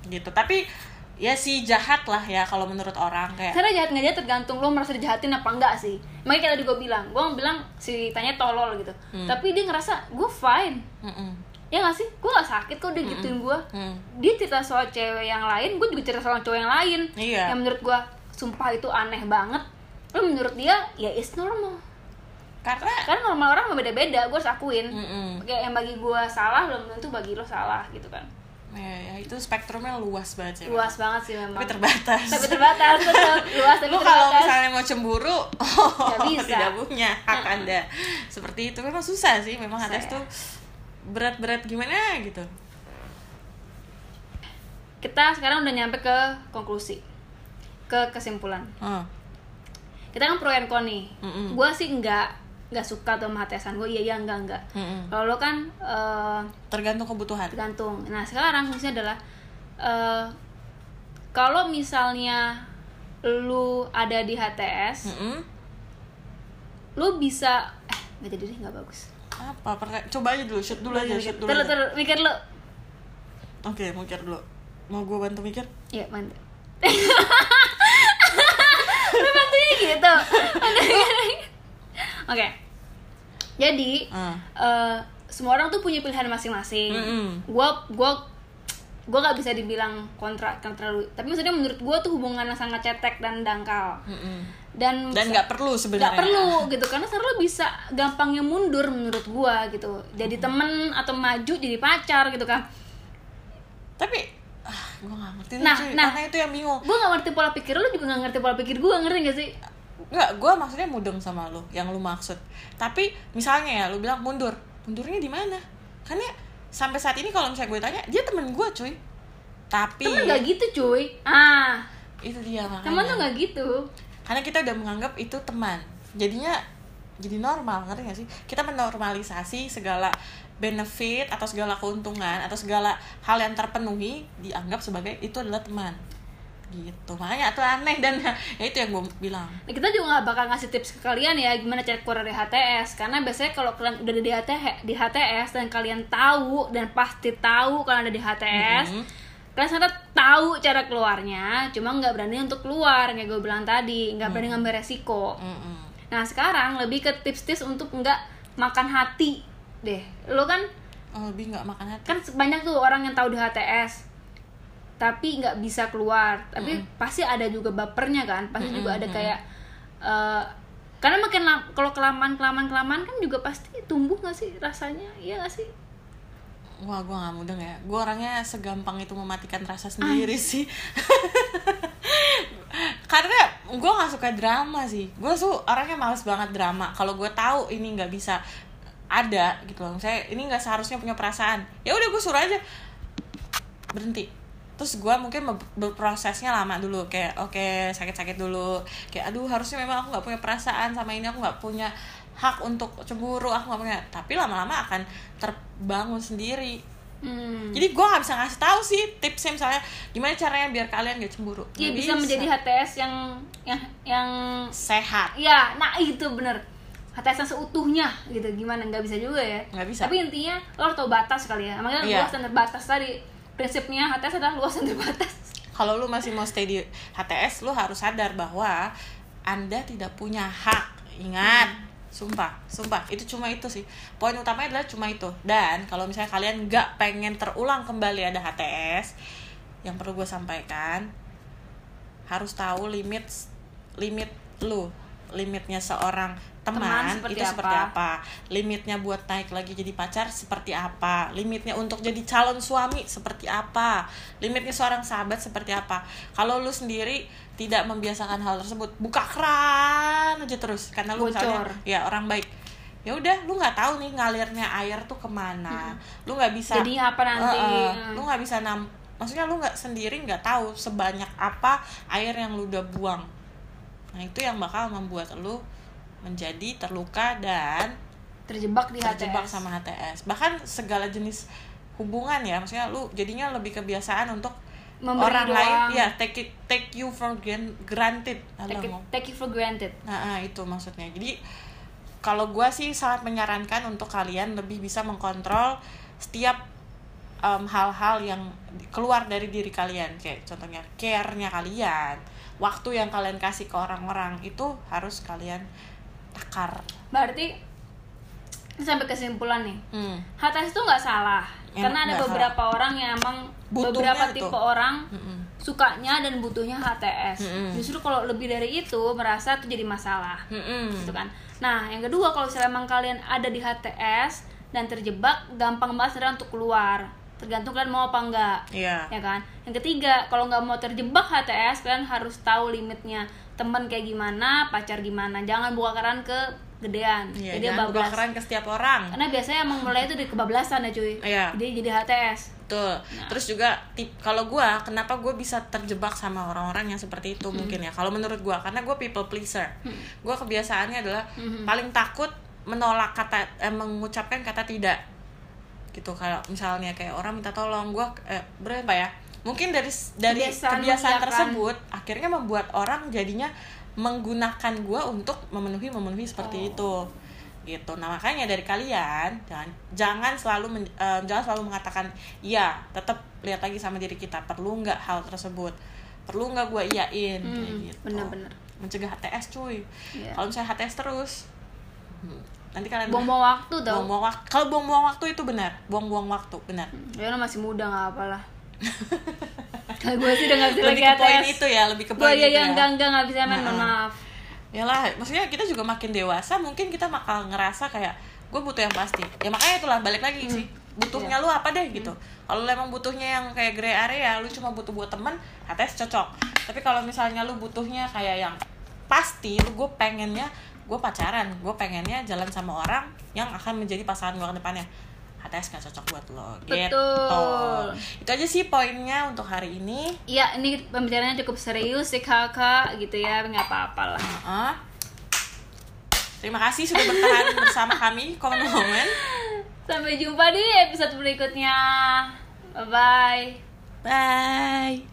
Speaker 2: gitu tapi ya si jahat lah ya kalau menurut orang kayak
Speaker 1: karena jahat nggak jahat tergantung lo merasa dijahatin apa enggak sih makanya kayak tadi gue bilang gue bilang si tanya tolol gitu
Speaker 2: Hmm.
Speaker 1: tapi dia ngerasa gue fine
Speaker 2: Mm-mm.
Speaker 1: ya nggak sih gue nggak sakit kok dia gituin gue
Speaker 2: Mm.
Speaker 1: dia cerita soal cewek yang lain gue juga cerita soal cowok yang lain
Speaker 2: Iya.
Speaker 1: yang menurut gue sumpah itu aneh banget tapi menurut dia ya is normal
Speaker 2: karena
Speaker 1: kan normal orang beda-beda gue harus akuin
Speaker 2: Mm-mm.
Speaker 1: kayak yang bagi gue salah belum tentu bagi lo salah gitu kan
Speaker 2: ya, ya, itu spektrumnya luas banget sih
Speaker 1: luas banget sih memang
Speaker 2: Iya. tapi terbatas
Speaker 1: tapi terbatas betul luas tapi
Speaker 2: lu kalau
Speaker 1: terbatas
Speaker 2: misalnya mau cemburu oh,
Speaker 1: bisa.
Speaker 2: tidak punya hak anda seperti itu memang susah sih memang
Speaker 1: Susah
Speaker 2: atas
Speaker 1: ya.
Speaker 2: tuh berat-berat gimana gitu
Speaker 1: kita sekarang udah nyampe ke konklusi ke kesimpulan
Speaker 2: Hmm.
Speaker 1: kita kan pro and con nih
Speaker 2: Mm-mm.
Speaker 1: gue sih enggak nggak suka tuh sama tesan gue iya iya enggak enggak
Speaker 2: Mm-mm.
Speaker 1: kalau lo kan eh,
Speaker 2: tergantung kebutuhan
Speaker 1: tergantung nah sekarang fungsinya adalah eh, kalau misalnya lu ada di HTS
Speaker 2: Mm-mm.
Speaker 1: lu bisa eh nggak jadi deh nggak bagus
Speaker 2: apa pertanyaan coba aja dulu shoot dulu aja shoot dulu
Speaker 1: Terus
Speaker 2: aja.
Speaker 1: terus mikir lu
Speaker 2: oke mikir dulu mau gue bantu mikir
Speaker 1: ya mantap lu bantunya gitu oke jadi
Speaker 2: Ah.
Speaker 1: eh, semua orang tuh punya pilihan masing-masing
Speaker 2: Mm-mm.
Speaker 1: gua gua gua nggak bisa dibilang kontra kontra lu tapi maksudnya menurut gua tuh hubungannya sangat cetek dan dangkal
Speaker 2: Mm-mm.
Speaker 1: dan
Speaker 2: dan nggak perlu sebenarnya
Speaker 1: nggak perlu gitu karena sekarang lo bisa gampangnya mundur menurut gua gitu jadi temen atau maju jadi pacar gitu kan
Speaker 2: tapi ah, gue nggak ngerti
Speaker 1: Nah,
Speaker 2: nah, cuy.
Speaker 1: nah.
Speaker 2: karena itu yang bingung
Speaker 1: gua nggak ngerti pola pikir lo juga nggak ngerti pola pikir gua ngerti gak sih
Speaker 2: nggak gue maksudnya mudeng sama lu yang lu maksud tapi misalnya ya lu bilang mundur mundurnya di mana karena sampai saat ini kalau misalnya gue tanya dia temen gue cuy tapi
Speaker 1: temen nggak gitu cuy ah
Speaker 2: itu dia Iya. makanya
Speaker 1: temen tuh nggak gitu
Speaker 2: karena kita udah menganggap itu teman jadinya jadi normal ngerti gak sih kita menormalisasi segala benefit atau segala keuntungan atau segala hal yang terpenuhi dianggap sebagai itu adalah teman gitu makanya tuh aneh dan ya itu yang gue bilang
Speaker 1: Nah, kita juga nggak bakal ngasih tips ke kalian ya gimana cari keluar dari HTS karena biasanya kalau kalian udah ada di HTS, di HTS dan kalian tahu dan pasti tahu kalian ada di HTS
Speaker 2: Mhm.
Speaker 1: kalian sebenarnya tahu cara keluarnya cuma nggak berani untuk keluar kayak gue bilang tadi nggak berani ngambil resiko
Speaker 2: Mm-mm.
Speaker 1: nah sekarang lebih ke tips-tips untuk nggak makan hati deh lo kan
Speaker 2: Oh, lebih nggak makan hati
Speaker 1: kan banyak tuh orang yang tahu di HTS tapi nggak bisa keluar tapi pasti ada juga bapernya kan pasti juga ada kayak eh, karena makin la- kalau kelamaan kelamaan kelamaan kan juga pasti tumbuh nggak sih rasanya iya nggak sih
Speaker 2: wah gue nggak mudeng ya gue orangnya segampang itu mematikan rasa sendiri sih karena gue nggak suka drama sih gue tuh orangnya males banget drama kalau gue tahu ini nggak bisa ada gitu loh saya ini nggak seharusnya punya perasaan ya udah gue suruh aja berhenti terus gue mungkin be- berprosesnya lama dulu kayak oke sakit-sakit dulu kayak aduh harusnya memang aku nggak punya perasaan sama ini aku nggak punya hak untuk cemburu aku nggak punya tapi lama-lama akan terbangun sendiri
Speaker 1: hmm.
Speaker 2: jadi gue nggak bisa ngasih tahu sih tipsnya misalnya gimana caranya biar kalian gak cemburu
Speaker 1: Iya,
Speaker 2: Nggak
Speaker 1: bisa menjadi HTS yang yang yang
Speaker 2: sehat
Speaker 1: ya nah itu bener HTS yang seutuhnya gitu gimana nggak bisa juga ya
Speaker 2: nggak bisa
Speaker 1: tapi intinya lo harus tahu batas kali ya makanya
Speaker 2: Iya.
Speaker 1: luas dan terbatas tadi prinsipnya HTS adalah luas dan terbatas
Speaker 2: kalau lu masih mau stay di HTS lu harus sadar bahwa anda tidak punya hak
Speaker 1: Hmm.
Speaker 2: ingat sumpah sumpah itu cuma itu sih poin utamanya adalah cuma itu dan kalau misalnya kalian nggak pengen terulang kembali ada HTS yang perlu gue sampaikan harus tahu limit limit lu limitnya seorang teman,
Speaker 1: Teman seperti
Speaker 2: itu seperti
Speaker 1: apa?
Speaker 2: apa limitnya buat naik lagi jadi pacar seperti apa limitnya untuk jadi calon suami seperti apa limitnya seorang sahabat seperti apa kalau lu sendiri tidak membiasakan hal tersebut buka keran aja terus karena lu misalnya
Speaker 1: Bocor.
Speaker 2: ya orang baik ya udah lu nggak tahu nih ngalirnya air tuh kemana lu nggak bisa
Speaker 1: jadinya apa Hmm. nanti
Speaker 2: Heeh,
Speaker 1: Nah.
Speaker 2: lu nggak bisa nam maksudnya lu nggak sendiri nggak tahu sebanyak apa air yang lu udah buang nah itu yang bakal membuat lu menjadi terluka dan
Speaker 1: terjebak di
Speaker 2: terjebak
Speaker 1: HTS.
Speaker 2: sama HTS bahkan segala jenis hubungan ya maksudnya lu jadinya lebih kebiasaan untuk
Speaker 1: Memberi
Speaker 2: orang
Speaker 1: doang.
Speaker 2: lain ya take it, take you for gran- granted Alah,
Speaker 1: take it,
Speaker 2: ngomong.
Speaker 1: take it for granted
Speaker 2: Nah, ah, itu maksudnya. Jadi kalau gua sih sangat menyarankan untuk kalian lebih bisa mengkontrol setiap em, hal-hal yang di- keluar dari diri kalian. Kayak contohnya care-nya kalian, waktu yang kalian kasih ke orang-orang itu harus kalian takar.
Speaker 1: berarti sampai kesimpulan nih
Speaker 2: Hmm.
Speaker 1: HTS itu nggak salah
Speaker 2: Em-
Speaker 1: karena ada
Speaker 2: nggak
Speaker 1: beberapa orang yang emang
Speaker 2: Butuhnya
Speaker 1: beberapa
Speaker 2: itu.
Speaker 1: tipe orang
Speaker 2: Mm-mm.
Speaker 1: sukanya dan butuhnya HTS
Speaker 2: Mm-mm.
Speaker 1: justru kalau lebih dari itu merasa itu jadi masalah
Speaker 2: Mm-mm.
Speaker 1: gitu kan nah yang kedua kalau misalnya emang kalian ada di HTS dan terjebak gampang banget sebenarnya untuk keluar tergantung kalian mau apa enggak
Speaker 2: Iya.
Speaker 1: ya kan yang ketiga kalau nggak mau terjebak HTS kalian harus tahu limitnya teman kayak gimana pacar gimana jangan buka keran ke gedean
Speaker 2: Iya,
Speaker 1: jadi
Speaker 2: jangan buka
Speaker 1: bablas Nah.
Speaker 2: keran ke setiap orang.
Speaker 1: karena biasanya emang mulai itu dari kebablasan ya cuy
Speaker 2: Iya.
Speaker 1: jadi jadi HTS
Speaker 2: Betul. Terus juga tip kalau gua kenapa gue bisa terjebak sama orang-orang yang
Speaker 1: Hmm.
Speaker 2: seperti itu mungkin ya. Kalau menurut gua karena gue people pleaser. Gua kebiasaannya adalah
Speaker 1: Hmm.
Speaker 2: paling takut menolak kata eh, mengucapkan kata tidak. Gitu kalau misalnya kayak orang minta tolong gua eh, berapa ya? Mungkin dari dari
Speaker 1: Kebiasaan
Speaker 2: kebiasaan
Speaker 1: mengiyakan.
Speaker 2: tersebut akhirnya membuat orang jadinya menggunakan gua untuk memenuhi memenuhi
Speaker 1: Oh.
Speaker 2: seperti itu gitu. Nah makanya dari kalian jangan jangan selalu men- eh, jangan selalu mengatakan iya. Tetap lihat lagi sama diri kita perlu nggak hal tersebut, perlu nggak gue iyain. kayak
Speaker 1: Hmm,
Speaker 2: gitu.
Speaker 1: bener-bener.
Speaker 2: Mencegah HTS cuy.
Speaker 1: Iya.
Speaker 2: Kalau misalnya HTS terus, hmm, nanti kalian
Speaker 1: buang-buang waktu dong
Speaker 2: buang-buang waktu. Kalau buang-buang waktu itu benar, buang-buang waktu benar.
Speaker 1: ya lo masih muda nggak apalah kalau gue sih udah nggak bisa lagi
Speaker 2: Lebih ke poin
Speaker 1: HTS
Speaker 2: itu ya, lebih ke
Speaker 1: gue
Speaker 2: poin
Speaker 1: ya, ya
Speaker 2: itu ya.
Speaker 1: enggak enggak nggak bisa main mohon
Speaker 2: Nah,
Speaker 1: maaf
Speaker 2: Yalah, maksudnya kita juga makin dewasa mungkin kita bakal ngerasa kayak gue butuh yang pasti ya makanya itulah balik lagi sih butuhnya lu apa deh gitu kalau lu emang butuhnya yang kayak gray area lu cuma butuh buat temen HTS cocok tapi kalau misalnya lu butuhnya kayak yang pasti lu gue pengennya gue pacaran gue pengennya jalan sama orang yang akan menjadi pasangan gue ke depannya HTS gak cocok buat lo gitu
Speaker 1: Betul.
Speaker 2: itu aja sih poinnya untuk hari ini
Speaker 1: Iya, ini pembicaraannya cukup serius sih kakak gitu ya, nggak apa-apa lah.
Speaker 2: Heeh. Terima kasih sudah bertahan bersama kami, komen-komen.
Speaker 1: Sampai jumpa di episode berikutnya. Bye-bye.
Speaker 2: Bye.